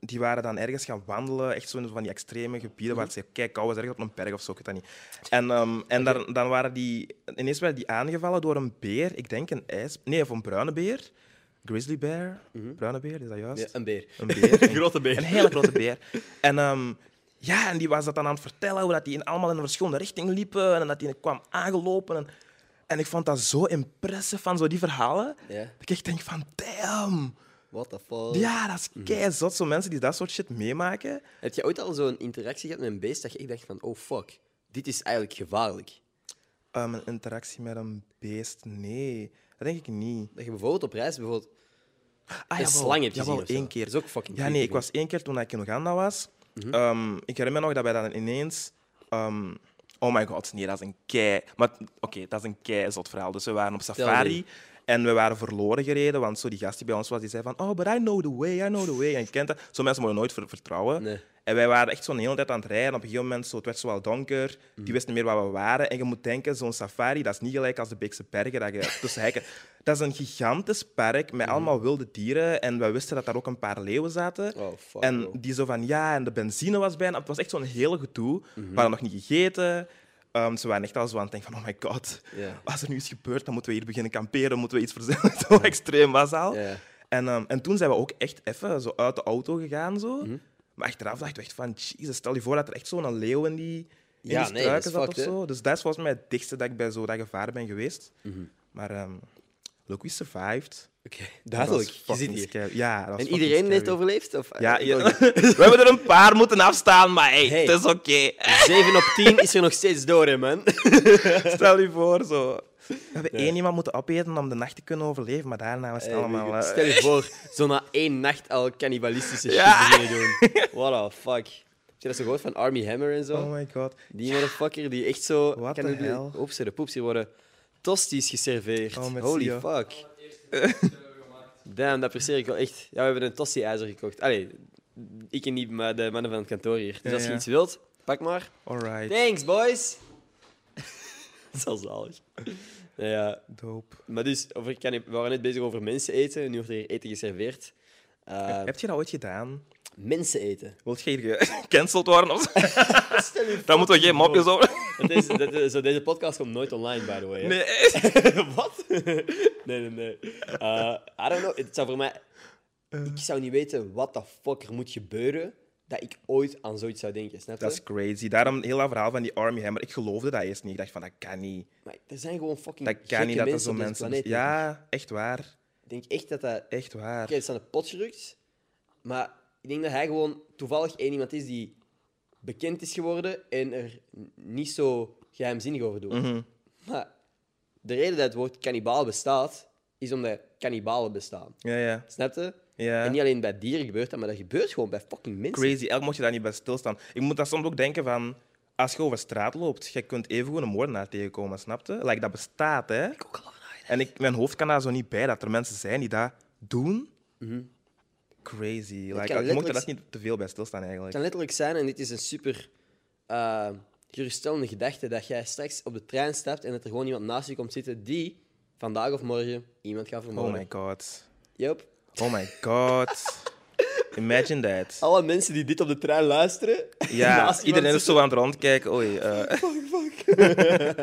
Speaker 2: die waren dan ergens gaan wandelen, echt zo in van die extreme gebieden waar het zeer kijk koud was, ergens op een berg of zo, ik weet dat niet. En, ehm, en daar, dan waren die... Ineens werden die aangevallen door een beer, ik denk een ijs... Nee, of een bruine beer. Grizzly bear. Bruine beer, is dat juist?
Speaker 1: Ja, een beer.
Speaker 2: Een beer. Een
Speaker 1: grote beer.
Speaker 2: Een hele grote beer. En ehm, ja, en die was dat dan aan het vertellen, hoe dat die in allemaal in een verschillende richting liepen en dat die kwam aangelopen. En, en ik vond dat zo impressief van zo die verhalen.
Speaker 1: Ja.
Speaker 2: Dat ik echt denk van, damn.
Speaker 1: What the fuck?
Speaker 2: Ja, dat
Speaker 1: Mhm.
Speaker 2: is keizot. Zo mensen die dat soort shit meemaken.
Speaker 1: Heb je ooit al zo'n interactie gehad met een beest dat je echt dacht van, oh fuck, dit is eigenlijk gevaarlijk?
Speaker 2: Ehm, een interactie met een beest, nee. Dat denk ik niet.
Speaker 1: Dat je bijvoorbeeld op reis bijvoorbeeld
Speaker 2: Ah,
Speaker 1: een slang hebt gezien
Speaker 2: jawel,
Speaker 1: of zo.
Speaker 2: één keer.
Speaker 1: Dat is ook fucking
Speaker 2: Ja, nee,
Speaker 1: creepy,
Speaker 2: ik was één keer toen ik in Oeganda was.
Speaker 1: Mhm.
Speaker 2: ehm, ik herinner me nog dat wij dan ineens... ehm, oh my god, nee, dat is een kei... Maar t- oké, dat is een kei zot verhaal. Dus we waren op
Speaker 1: Vertel
Speaker 2: safari En we waren verloren gereden, want zo die gast die bij ons was, die zei van oh, but I know the way, I know the way. En je kent dat. Zo mensen moet je nooit ver- vertrouwen.
Speaker 1: Nee.
Speaker 2: En wij waren echt zo'n hele tijd aan het rijden. Op een gegeven moment zo, het werd zo wel donker.
Speaker 1: Mhm.
Speaker 2: Die wist niet meer waar we waren. En je moet denken, zo'n safari, dat is niet gelijk als de Beekse Bergen. Dat, je tussen hekken. dat is een gigantisch park met
Speaker 1: Mhm.
Speaker 2: allemaal wilde dieren. En we wisten dat daar ook een paar leeuwen zaten.
Speaker 1: Oh, fuck,
Speaker 2: en
Speaker 1: bro.
Speaker 2: die zo van, ja, en de benzine was bijna... Het was echt zo'n hele gedoe.
Speaker 1: Mhm.
Speaker 2: We hadden nog niet gegeten. Ehm, ze waren echt al zo aan het denken van, oh my god.
Speaker 1: Ja.
Speaker 2: Als er nu iets gebeurt, dan moeten we hier beginnen kamperen. Moeten we iets verzinnen. Zo extreem was al.
Speaker 1: Ja.
Speaker 2: En, ehm, en toen zijn we ook echt even zo uit de auto gegaan. Zo.
Speaker 1: Mhm.
Speaker 2: Maar achteraf dachten we echt van, jezus, stel je voor dat er echt zo'n leeuw in die, in
Speaker 1: Ja,
Speaker 2: die
Speaker 1: nee,
Speaker 2: struiken
Speaker 1: dat is
Speaker 2: zat
Speaker 1: fucked,
Speaker 2: of
Speaker 1: hè?
Speaker 2: zo. Dus dat is volgens mij het dichtste dat ik bij zo dat gevaar ben geweest.
Speaker 1: Mhm.
Speaker 2: Maar ehm look, we survived.
Speaker 1: Oké,
Speaker 2: Dat was
Speaker 1: duidelijk. Je zit
Speaker 2: fucking
Speaker 1: hier.
Speaker 2: scary. Ja, dat was
Speaker 1: En
Speaker 2: fucking
Speaker 1: iedereen heeft
Speaker 2: scary.
Speaker 1: overleefd? Of?
Speaker 2: Ja,
Speaker 1: Ik
Speaker 2: ja.
Speaker 1: wil-
Speaker 2: we hebben er een paar moeten afstaan, maar hey,
Speaker 1: Hey.
Speaker 2: het is oké.
Speaker 1: 7 op 10 is er nog steeds door, hè, man.
Speaker 2: Stel je voor, zo. We hebben één iemand moeten opeten om de nacht te kunnen overleven, maar daarna was het allemaal... eh,
Speaker 1: Stel je voor, zo na één nacht al cannibalistische shit
Speaker 2: Ja.
Speaker 1: beginnen doen. What the fuck. Heb je dat zo gehoord van Army Hammer en zo?
Speaker 2: Oh my god.
Speaker 1: Die motherfucker die echt zo...
Speaker 2: What the
Speaker 1: cannibali-
Speaker 2: hell?
Speaker 1: Oeps, de poeps, hier worden tosties geserveerd.
Speaker 2: Oh, met
Speaker 1: Holy
Speaker 2: Sia.
Speaker 1: fuck. Damn, dat perceer ik wel echt. Ja, we hebben een tosti-ijzer gekocht. Allee, ik en niet, maar de mannen van het kantoor hier. Dus
Speaker 2: Ja,
Speaker 1: als je
Speaker 2: ja.
Speaker 1: iets wilt, pak maar.
Speaker 2: Alright,
Speaker 1: Thanks, boys. dat is al zalig. Nou Ja,
Speaker 2: dope.
Speaker 1: maar dus, over, canni- we waren net bezig over mensen eten. En nu wordt er hier eten geserveerd. Eh,
Speaker 2: Heb je dat ooit gedaan?
Speaker 1: mensen eten.
Speaker 2: Wilt je hier gecanceld worden? Of... zo?
Speaker 1: Stel je
Speaker 2: Daar moeten we geen mopjes over...
Speaker 1: Dat is, dat is- zo, deze podcast komt nooit online, by the way. hè.
Speaker 2: Nee.
Speaker 1: Wat? nee, nee, nee. Eh, I don't know. Het zou voor mij...
Speaker 2: Eh.
Speaker 1: Ik zou niet weten wat de fuck er moet gebeuren dat ik ooit aan zoiets zou denken. Snap je?
Speaker 2: Dat is crazy. Daarom heel dat verhaal van die Army Hammer. Ik geloofde dat eerst niet. Ik dacht van, dat kan niet.
Speaker 1: Maar er zijn gewoon fucking
Speaker 2: Dat kan
Speaker 1: gekke
Speaker 2: niet dat er
Speaker 1: mensen
Speaker 2: zo
Speaker 1: op deze
Speaker 2: mensen...
Speaker 1: planeet.
Speaker 2: ja, echt waar.
Speaker 1: Ik denk echt dat dat... Oké,
Speaker 2: Echt waar.
Speaker 1: het is aan de pot gerukt. Maar ik denk dat hij gewoon toevallig één iemand is die bekend is geworden en er n- niet zo geheimzinnig over doet.
Speaker 2: Mhm.
Speaker 1: Maar de reden dat het woord kannibaal bestaat, is omdat kannibalen bestaan.
Speaker 2: Ja, ja.
Speaker 1: Snap je?
Speaker 2: Ja.
Speaker 1: En niet alleen bij dieren gebeurt dat, maar dat gebeurt gewoon bij fucking mensen.
Speaker 2: Crazy. Elk mocht je daar niet bij stilstaan. Ik moet daar soms ook denken van... Als je over straat loopt, je kunt even gewoon een moordenaar tegenkomen, snapte? Like, dat bestaat, hè?
Speaker 1: Ook al een
Speaker 2: En ik, mijn hoofd kan daar zo niet bij dat er mensen zijn die dat doen. Crazy. Like,
Speaker 1: Mhm. kan
Speaker 2: je mocht er
Speaker 1: letterlijk-
Speaker 2: dat niet te veel bij stilstaan, eigenlijk.
Speaker 1: Het kan letterlijk zijn, en dit is een super eh, geruststellende gedachte, dat jij straks op de trein stapt en dat er gewoon iemand naast je komt zitten die vandaag of morgen iemand gaat
Speaker 2: Oh
Speaker 1: vermoorden.
Speaker 2: my god.
Speaker 1: Yup.
Speaker 2: Oh my god. Imagine that.
Speaker 1: Alle mensen die dit op de trein luisteren.
Speaker 2: Ja,
Speaker 1: naast Oh. iemand
Speaker 2: iedereen is
Speaker 1: zitten.
Speaker 2: zo aan het rondkijken. Oei, eh,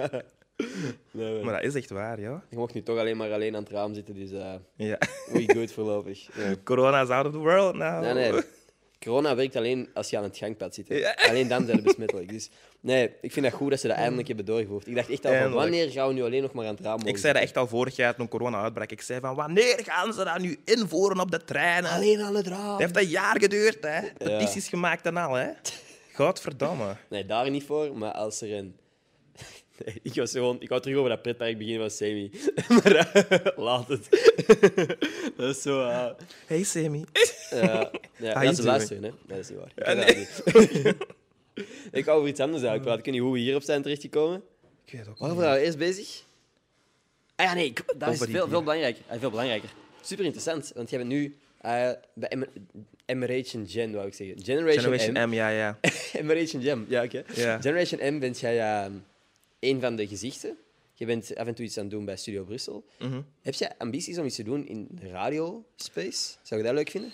Speaker 1: Nee, nee.
Speaker 2: maar dat is echt waar, ja.
Speaker 1: Je mocht nu toch alleen maar alleen aan het raam zitten, dus eh
Speaker 2: ja.
Speaker 1: we good voorlopig. Ja.
Speaker 2: Corona is out of the world now.
Speaker 1: Nee, nee. Corona werkt alleen als je aan het gangpad zit. hè. Alleen dan zijn we besmettelijk. Dus nee, ik vind dat goed dat ze dat eindelijk hebben doorgevoerd. Ik dacht echt al van,
Speaker 2: Eindelijk.
Speaker 1: wanneer gaan we nu alleen nog maar aan het raam mogen
Speaker 2: Ik zei
Speaker 1: zitten?
Speaker 2: dat echt al vorig jaar toen corona uitbrak. Ik zei van, wanneer gaan ze dat nu invoeren op de treinen? Het
Speaker 1: Alleen aan het raam.
Speaker 2: heeft een jaar geduurd, hè. Petities gemaakt en al, hè. Godverdamme.
Speaker 1: Nee, daar niet voor, maar als er een... Nee, ik was gewoon... Ik wou terug over dat pretpark beginnen van Semi. maar eh, laat het. dat is zo... eh,
Speaker 2: Hey, Sammy.
Speaker 1: ja, ja,
Speaker 2: Ah,
Speaker 1: dat is
Speaker 2: hier
Speaker 1: luisteren, hè? Nee, dat is niet waar. Ik kan dat niet. ik wou over iets anders eigenlijk praten. Ik weet niet hoe we hierop zijn terechtgekomen.
Speaker 2: Ik weet het ook niet.
Speaker 1: Waarover waren we eerst bezig? Ah ja, nee, ik- dat is
Speaker 2: Over die
Speaker 1: veel, veel,
Speaker 2: dieren.
Speaker 1: belangrijker. Ah, veel belangrijker. Super interessant, want jij bent nu eh, bij Emer- Emeration Gen, wou ik zeggen. Generation,
Speaker 2: Generation
Speaker 1: M.
Speaker 2: M, ja, ja.
Speaker 1: Emeration Gen, ja, oké.
Speaker 2: Ja.
Speaker 1: Generation M bent jij eh, een van de gezichten. Je bent af en toe iets aan het doen bij Studio Brussel.
Speaker 2: Mhm.
Speaker 1: Heb jij ambities om iets te doen in de radiospace? Zou je dat leuk vinden?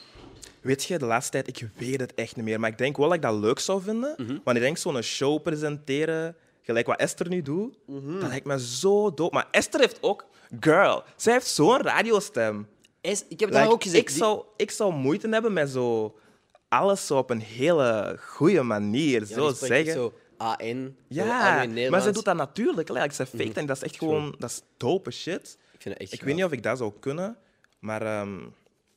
Speaker 2: Weet je, de laatste tijd, ik weet het echt niet meer. Maar ik denk wel dat ik dat leuk zou vinden. Want ik denk zo'n show presenteren, gelijk wat Esther nu doet, dat lijkt me zo dood. Maar Esther heeft ook, girl, zij heeft zo'n radiostem.
Speaker 1: Is- ik heb het daar
Speaker 2: Like,
Speaker 1: ook gezegd.
Speaker 2: ik,
Speaker 1: die-
Speaker 2: zou, ik zou moeite hebben met zo alles zo op een hele goede manier
Speaker 1: Ja,
Speaker 2: zo
Speaker 1: die spreekt echt
Speaker 2: zeggen.
Speaker 1: Zo AN.
Speaker 2: ja, maar ze doet dat natuurlijk. Like, ze fake en dat is echt gewoon, dat is dope shit.
Speaker 1: Ik vind het echt
Speaker 2: Ik weet niet of ik dat zou kunnen, maar ehm,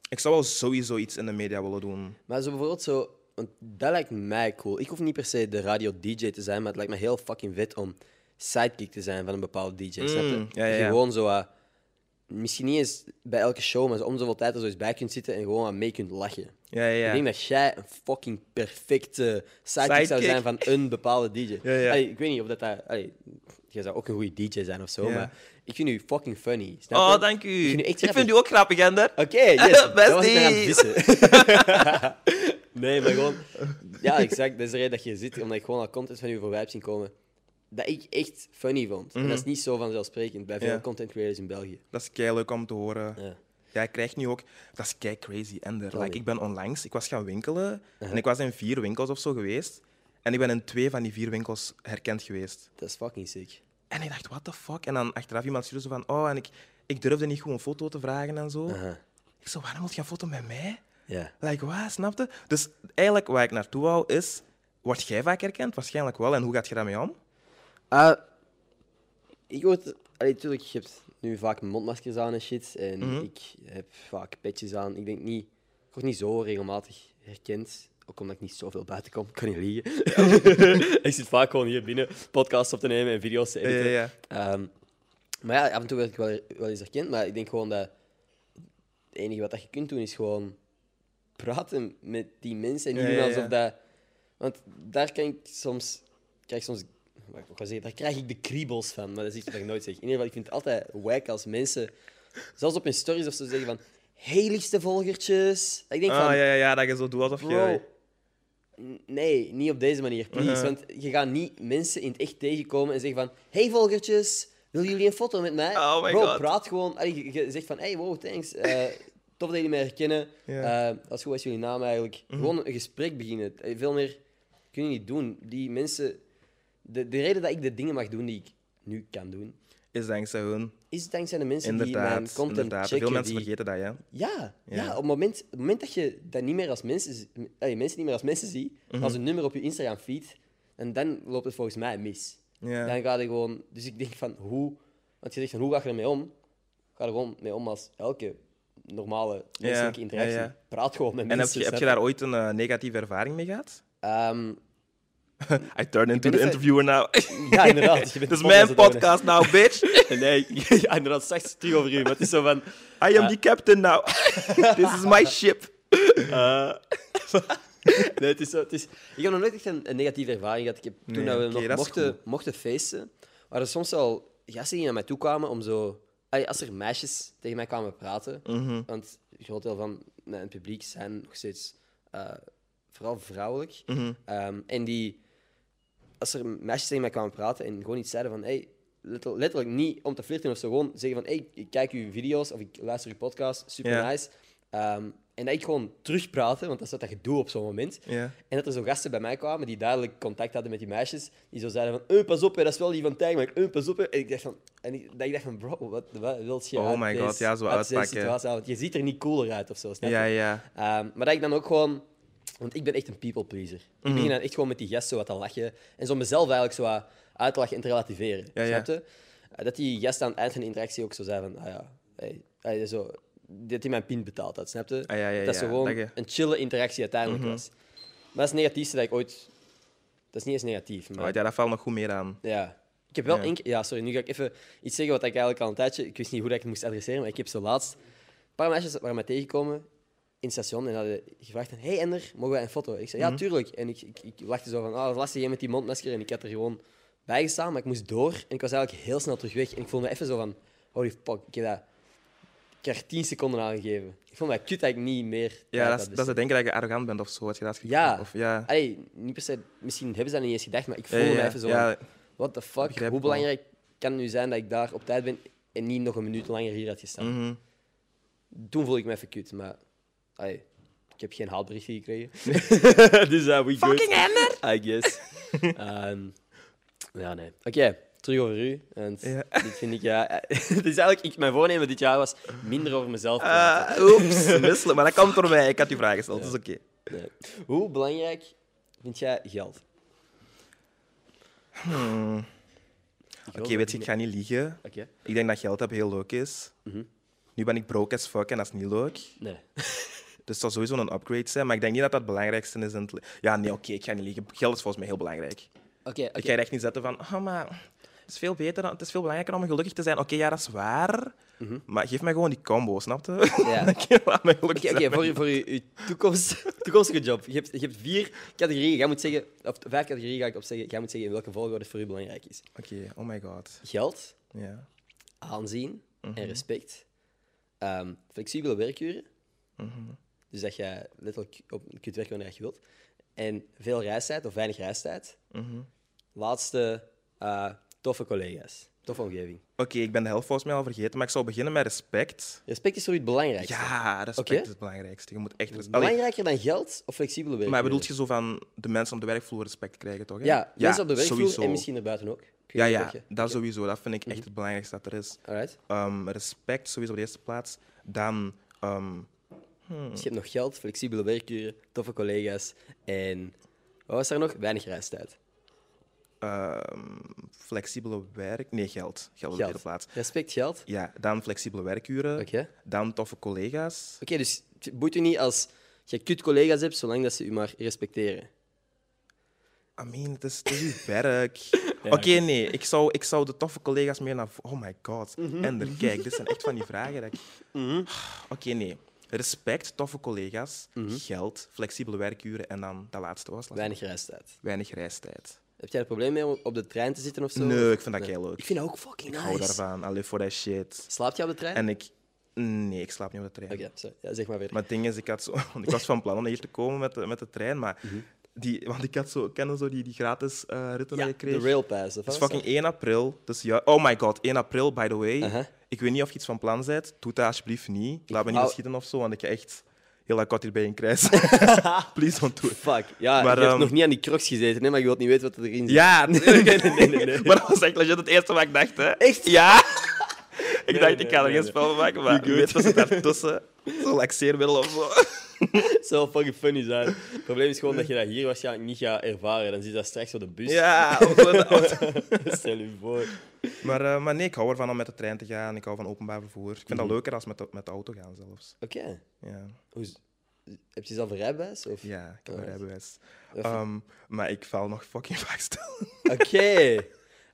Speaker 2: ik zou wel sowieso iets in de media willen doen.
Speaker 1: Maar zo bijvoorbeeld zo, want dat lijkt mij cool. Ik hoef niet per se de radio-DJ te zijn, maar het lijkt me heel fucking vet om sidekick te zijn van een bepaalde DJ. snap je?
Speaker 2: Mm, ja, ja, ja.
Speaker 1: Gewoon zo eh, misschien niet eens bij elke show, maar zo om zoveel tijd er zo eens bij kunt zitten en gewoon aan mee kunt lachen.
Speaker 2: Ja, ja,
Speaker 1: Ik
Speaker 2: ja.
Speaker 1: denk dat jij een fucking perfecte sidekick, zou
Speaker 2: Sidekick.
Speaker 1: zijn van een bepaalde DJ.
Speaker 2: Ja, ja.
Speaker 1: Allee, ik weet niet of dat. dat allee, jij zou ook een goede DJ zijn of zo,
Speaker 2: Ja.
Speaker 1: maar ik vind u fucking funny. snap je?
Speaker 2: Oh, dank
Speaker 1: Ik
Speaker 2: u.
Speaker 1: vind u echt
Speaker 2: Ik vind
Speaker 1: grappig.
Speaker 2: u ook grappig, Ender.
Speaker 1: Oké, yes, dat was ik dan aan het
Speaker 2: Bestie.
Speaker 1: vissen. nee, maar gewoon... Ja, exact. Dat is de reden dat je zit, omdat ik gewoon al content van u voorbij heb zien komen dat ik echt funny vond. En dat is niet zo vanzelfsprekend bij veel
Speaker 2: Mhm. Ja.
Speaker 1: content creators in België.
Speaker 2: Dat is kei leuk om te horen.
Speaker 1: Ja.
Speaker 2: Ja, ik krijg nu ook. Dat is kei crazy. Ender.
Speaker 1: Sorry.
Speaker 2: Like, ik ben onlangs, ik was gaan winkelen en ik was in vier winkels of zo geweest. En ik ben in twee van die vier winkels herkend geweest.
Speaker 1: Dat is fucking sick.
Speaker 2: En ik dacht, what the fuck? En dan achteraf iemand stuurde zo van, oh, en ik, ik durfde niet gewoon een foto te vragen en zo.
Speaker 1: Aha.
Speaker 2: Ik zo, waarom moet je een foto met mij?
Speaker 1: Ja.
Speaker 2: Like, wat, snapte? Dus eigenlijk waar ik naartoe wou is, word jij vaak herkend? Waarschijnlijk wel. En hoe gaat je daarmee om?
Speaker 1: Eh, ik word... Allee, tuurlijk, je hebt nu vaak mondmaskers aan en shit. En ik heb vaak petjes aan. Ik denk niet... Ik word niet zo regelmatig herkend. Ook omdat ik niet zoveel buiten kom. Ik kan niet liegen. ik zit vaak gewoon hier binnen podcasts op te nemen en video's te editen. Ehm, maar ja, af en toe werd ik wel, wel eens herkend. Maar ik denk gewoon dat het enige wat dat je kunt doen is gewoon praten met die mensen. En niet
Speaker 2: Ja,
Speaker 1: doen
Speaker 2: ja,
Speaker 1: alsof
Speaker 2: ja.
Speaker 1: dat. Want daar kan ik soms. Krijg ik soms wat ik ook wou zeggen, daar krijg ik de kriebels van. Maar dat is iets wat ik nooit zeg. In ieder geval, ik vind het altijd wijk als mensen, zelfs op hun stories of zo, zeggen van. Hey, liefste volgertjes. Dat Ik denk
Speaker 2: Ah,
Speaker 1: van,
Speaker 2: ja, ja, ja, dat je zo doet alsof
Speaker 1: Bro,
Speaker 2: je...
Speaker 1: n- nee, niet op deze manier, please.
Speaker 2: Uh-huh.
Speaker 1: Want je gaat niet mensen in het echt tegenkomen en zeggen van... Hey, volgertjes, willen jullie een foto met mij?
Speaker 2: Oh my
Speaker 1: bro,
Speaker 2: God.
Speaker 1: praat gewoon. Allee, je- je zegt van... Hey, wow, thanks. Eh, tof dat jullie mij herkennen.
Speaker 2: Ja. Mhm.
Speaker 1: Eh, dat is goed, wat is jullie naam eigenlijk? Gewoon een gesprek beginnen. Eh, Veel meer kun je niet doen. Die mensen... De, de reden dat ik de dingen mag doen die ik nu kan doen,
Speaker 2: Is dankzij hun.
Speaker 1: is dankzij de mensen die mijn
Speaker 2: Inderdaad,
Speaker 1: content
Speaker 2: inderdaad.
Speaker 1: checken.
Speaker 2: Veel mensen
Speaker 1: die-
Speaker 2: vergeten dat, ja.
Speaker 1: ja, ja.
Speaker 2: Ja.
Speaker 1: op, het moment, op het moment dat je dat niet meer als mensen, z- allee, mensen niet meer als mensen ziet,
Speaker 2: Mhm.
Speaker 1: maar als een nummer op je Instagram feed, en dan loopt het volgens mij mis.
Speaker 2: Ja.
Speaker 1: Dan ga je gewoon, dus ik denk van hoe, want je zegt van hoe ga je ermee om? Ga er gewoon mee om als elke normale menselijke
Speaker 2: ja,
Speaker 1: interactie.
Speaker 2: ja.
Speaker 1: Praat gewoon met
Speaker 2: En heb
Speaker 1: mensen.
Speaker 2: je, heb je daar ooit een eh, negatieve ervaring mee gehad?
Speaker 1: daar...
Speaker 2: I turn
Speaker 1: ben
Speaker 2: into the
Speaker 1: even-
Speaker 2: interviewer now.
Speaker 1: Ehm, ja, inderdaad. je bent
Speaker 2: Dit is
Speaker 1: de
Speaker 2: mijn
Speaker 1: aan het doen, hè.
Speaker 2: podcast now, bitch.
Speaker 1: Nee, ja, inderdaad, straks terug over u. Maar het is zo van,
Speaker 2: I am the captain now. This is my ship.
Speaker 1: Nee, het is zo, het is... Ik heb nog nooit echt een, een negatieve ervaring gehad. Ik heb, toen
Speaker 2: Nee,
Speaker 1: dat we
Speaker 2: oké,
Speaker 1: nog
Speaker 2: dat is
Speaker 1: mochten, mochten feesten, waren er soms al gasten die naar mij toe kwamen om zo... Allee, als er meisjes tegen mij kwamen praten,
Speaker 2: Mhm.
Speaker 1: want een groot deel van mijn publiek zijn nog steeds eh, vooral vrouwelijk.
Speaker 2: Mhm.
Speaker 1: Ehm, en die, als er meisjes tegen mij kwamen praten en gewoon iets zeiden van... Hey, letter- letterlijk niet om te flirten of zo, gewoon zeggen van... Hey, ik kijk uw video's of ik luister uw podcast, super
Speaker 2: Ja.
Speaker 1: nice. Ehm, en dat ik gewoon terugpraatte, want dat is wat dat gedoe op zo'n moment.
Speaker 2: Ja.
Speaker 1: En dat er zo gasten bij mij kwamen die duidelijk contact hadden met die meisjes. Die zo zeiden van, eh, pas op, hè, dat is wel die van Tijg, maar eh, pas op. hè." En ik dacht van, en ik, dat ik dacht van bro, wat, wat wil je
Speaker 2: Oh
Speaker 1: uit
Speaker 2: my
Speaker 1: deze-
Speaker 2: God, ja, zo
Speaker 1: uit deze
Speaker 2: uitpakken.
Speaker 1: situatie halen? Want je ziet er niet cooler uit of zo, snap je?
Speaker 2: Ja, ja.
Speaker 1: Ehm, maar dat ik dan ook gewoon... Want ik ben echt een people pleaser.
Speaker 2: Mhm.
Speaker 1: Ik begin dan echt gewoon met die gasten wat te lachen. En zo mezelf eigenlijk zo wat uit te lachen en te relativeren.
Speaker 2: Ja, ja.
Speaker 1: snap je? Eh, dat die gast aan het eind van de interactie ook zo zei van... Ah ja, hey, hey, zo, dat hij mijn pin betaald had, snap je?
Speaker 2: Ah, ja, ja,
Speaker 1: dat zo
Speaker 2: ja,
Speaker 1: gewoon
Speaker 2: dat je- Mhm.
Speaker 1: een chille interactie uiteindelijk was. Maar dat is het negatiefste dat ik ooit... Dat is niet eens negatief, maar...
Speaker 2: Oh, ja, dat valt nog goed meer aan.
Speaker 1: Ja. Ik heb wel
Speaker 2: Ja.
Speaker 1: één keer... Ja, sorry, nu ga ik even iets zeggen wat ik eigenlijk al een tijdje... Ik wist niet hoe dat ik het moest adresseren, maar ik heb zo laatst... Een paar meisjes waren mij tegengekomen in het station en hadden gevraagd... Hé, hey, Ender, mogen wij een foto? Ik
Speaker 2: Mhm.
Speaker 1: zei, ja, tuurlijk. En ik, ik, ik lachte zo van, ah, dat is lastig, jij met die mondmasker. En ik had er gewoon bij gestaan, maar ik moest door. En ik was eigenlijk heel snel terug weg. En ik voelde me even zo van, holy fuck, ik heb dat... Ik heb er tien seconden aangegeven. Ik vond dat kut dat ik niet meer... tijd
Speaker 2: Ja, dat
Speaker 1: had
Speaker 2: is, dat is
Speaker 1: besteed.
Speaker 2: het denken dat je arrogant bent of zo. had je dat gekregen?
Speaker 1: Ja.
Speaker 2: Of, ja.
Speaker 1: Allee, niet per se... Misschien hebben ze dat niet eens gedacht, maar ik
Speaker 2: Ja,
Speaker 1: voelde
Speaker 2: ja,
Speaker 1: me even zo
Speaker 2: ja.
Speaker 1: van, What the fuck?
Speaker 2: Begrijp
Speaker 1: Hoe
Speaker 2: ik wel.
Speaker 1: belangrijk kan het nu zijn dat ik daar op tijd ben en niet nog een minuut langer hier had gestaan?
Speaker 2: Mhm.
Speaker 1: Toen voelde ik me even kut, maar ai, ik heb geen haatberichtje gekregen. dus
Speaker 2: eh,
Speaker 1: uh, we good.
Speaker 2: Fucking Ender!
Speaker 1: I guess. Ehm, ja, nee. Oké, terug over u. Want
Speaker 2: Ja.
Speaker 1: dit vind ik, ja... het is eigenlijk... Ik, mijn voornemen dit jaar was minder over mezelf praten.
Speaker 2: Ah, oeps, misselijk. Maar dat komt door mij. Ik had die vraag gesteld, dus oké.
Speaker 1: Nee. Hoe belangrijk vind jij geld?
Speaker 2: Hmm. Oké, weet je, ik ga niet liegen.
Speaker 1: Oké.
Speaker 2: Ik denk dat geld hebben heel leuk is.
Speaker 1: Mhm.
Speaker 2: Nu ben ik broke as fuck en dat is niet leuk.
Speaker 1: Nee.
Speaker 2: Dus het zal sowieso een upgrade zijn, maar ik denk niet dat dat het belangrijkste is. In het le- ja, nee, oké, ik ga niet liegen. Geld is volgens mij heel belangrijk.
Speaker 1: Oké, oké.
Speaker 2: Ik ga je echt niet zetten van, oh, maar is veel beter, dan- het is veel belangrijker om gelukkig te zijn. Oké, ja, dat is waar.
Speaker 1: Mhm.
Speaker 2: Maar geef mij gewoon die combo, snap je?
Speaker 1: Ja.
Speaker 2: Laat mij gelukkig
Speaker 1: Oké, oké,
Speaker 2: zijn.
Speaker 1: voor, je- voor je, je toekomst, toekomstige job. Je hebt, je hebt vier categorieën. Jij moet zeggen, of vijf categorieën ga ik opzeggen. Jij moet zeggen in welke volgorde het voor u belangrijk is.
Speaker 2: Oké, oh my god.
Speaker 1: Geld,
Speaker 2: Ja.
Speaker 1: aanzien
Speaker 2: Mhm.
Speaker 1: en respect. Ehm, flexibele werkuren.
Speaker 2: Mhm.
Speaker 1: Dus dat je letterlijk op, kunt werken wanneer je wilt. En veel reistijd of weinig reistijd.
Speaker 2: Mhm.
Speaker 1: Laatste, eh, toffe collega's. Toffe omgeving.
Speaker 2: Oké, ik ben de helft volgens mij al vergeten, maar ik zou beginnen met respect.
Speaker 1: Respect is voor u het belangrijkste.
Speaker 2: Ja, respect
Speaker 1: Oké.
Speaker 2: is het belangrijkste. Je moet echt respect... Allee,
Speaker 1: Belangrijker dan geld of flexibele werkuren?
Speaker 2: maar bedoelt je zo van de mensen op de werkvloer respect krijgen, toch? hè?
Speaker 1: Ja, mensen op de werkvloer
Speaker 2: sowieso.
Speaker 1: en misschien erbuiten ook. Ik weet
Speaker 2: Ja,
Speaker 1: niet
Speaker 2: ja,
Speaker 1: of je-
Speaker 2: dat sowieso. Dat vind ik
Speaker 1: Mhm.
Speaker 2: echt het belangrijkste dat er is.
Speaker 1: Alright.
Speaker 2: Ehm, respect sowieso op de eerste plaats. Dan... ehm,
Speaker 1: Dus je hebt nog geld, flexibele werkuren, toffe collega's en... Wat was er nog? Weinig reistijd.
Speaker 2: ehm, flexibele werk... Nee, geld. Geld op de
Speaker 1: Geld.
Speaker 2: tweede plaats.
Speaker 1: Respect, geld. Oké.
Speaker 2: Ja, dan flexibele werkuren.
Speaker 1: Oké.
Speaker 2: Dan toffe collega's.
Speaker 1: dus het boeit u niet als je kut collega's hebt, zolang dat ze u maar respecteren.
Speaker 2: I mean, het is, het is uw werk. Oké, nee, ik zou, ik zou de toffe collega's meer naar... vo- Oh my god.
Speaker 1: Mhm.
Speaker 2: Ender, kijk, dit zijn echt van die vragen. Dat ik... Oké, nee. Respect, toffe collega's,
Speaker 1: Mhm.
Speaker 2: geld, flexibele werkuren en dan dat laatste was.
Speaker 1: Weinig reistijd.
Speaker 2: Weinig reistijd.
Speaker 1: Heb jij er probleem mee om op de trein te zitten of zo?
Speaker 2: Nee, ik vind dat keileuk.
Speaker 1: Ik vind dat ook fucking
Speaker 2: Ik
Speaker 1: nice.
Speaker 2: hou daarvan. Allee, voor dat shit.
Speaker 1: Slaapt jij op de trein?
Speaker 2: En ik... Nee, ik slaap niet op de trein.
Speaker 1: Oké, sorry. Ja, zeg maar verder.
Speaker 2: Maar het ding is, ik, had zo, want ik was van plan om hier te komen met de, met de trein, maar...
Speaker 1: Mhm.
Speaker 2: Die, want ik had zo, kennen zo die, die gratis eh ritten
Speaker 1: ja,
Speaker 2: die je kreeg.
Speaker 1: de railpass. of
Speaker 2: Het is
Speaker 1: wat was
Speaker 2: fucking 1 april. Dus ja, oh my god, 1 april, by the way.
Speaker 1: Uh-huh.
Speaker 2: Ik weet niet of je iets van plan bent. Doe dat alsjeblieft niet. Laat me niet
Speaker 1: wou-
Speaker 2: beschieten of zo, want ik heb echt heel dat kot hierbij in krijs. Please don't do it.
Speaker 1: dat? Fuck, ja,
Speaker 2: Maar,
Speaker 1: je hebt
Speaker 2: ehm,
Speaker 1: nog niet aan die crocs gezeten, hè, maar je wilt niet weten wat erin zit.
Speaker 2: Ja, nee, nee, nee,
Speaker 1: nee, nee.
Speaker 2: Maar dat was echt legit het eerste wat ik dacht, hè.
Speaker 1: Echt?
Speaker 2: Ja. Ik dacht,
Speaker 1: nee,
Speaker 2: ik ga er
Speaker 1: nee,
Speaker 2: geen
Speaker 1: nee.
Speaker 2: spel van maken, maar
Speaker 1: You're
Speaker 2: weet
Speaker 1: good.
Speaker 2: dat ze daartussen zo laxeermiddel of zo.
Speaker 1: Het zou wel fucking funny zijn. Het probleem is gewoon dat je dat hier waarschijnlijk niet gaat ervaren. Dan zit dat straks op de bus.
Speaker 2: Ja, of zo.
Speaker 1: Stel je voor.
Speaker 2: Maar, eh, maar nee, ik hou ervan om met de trein te gaan. Ik hou van openbaar vervoer. Ik vind
Speaker 1: Mhm.
Speaker 2: dat leuker als met de, met de auto gaan zelfs.
Speaker 1: Oké.
Speaker 2: Ja.
Speaker 1: Hoe is- Heb je zelf een rijbewijs? Of?
Speaker 2: Ja, ik heb een
Speaker 1: Alright.
Speaker 2: rijbewijs.
Speaker 1: Dat is-
Speaker 2: Ehm, maar ik val nog fucking vaak stil.
Speaker 1: Oké.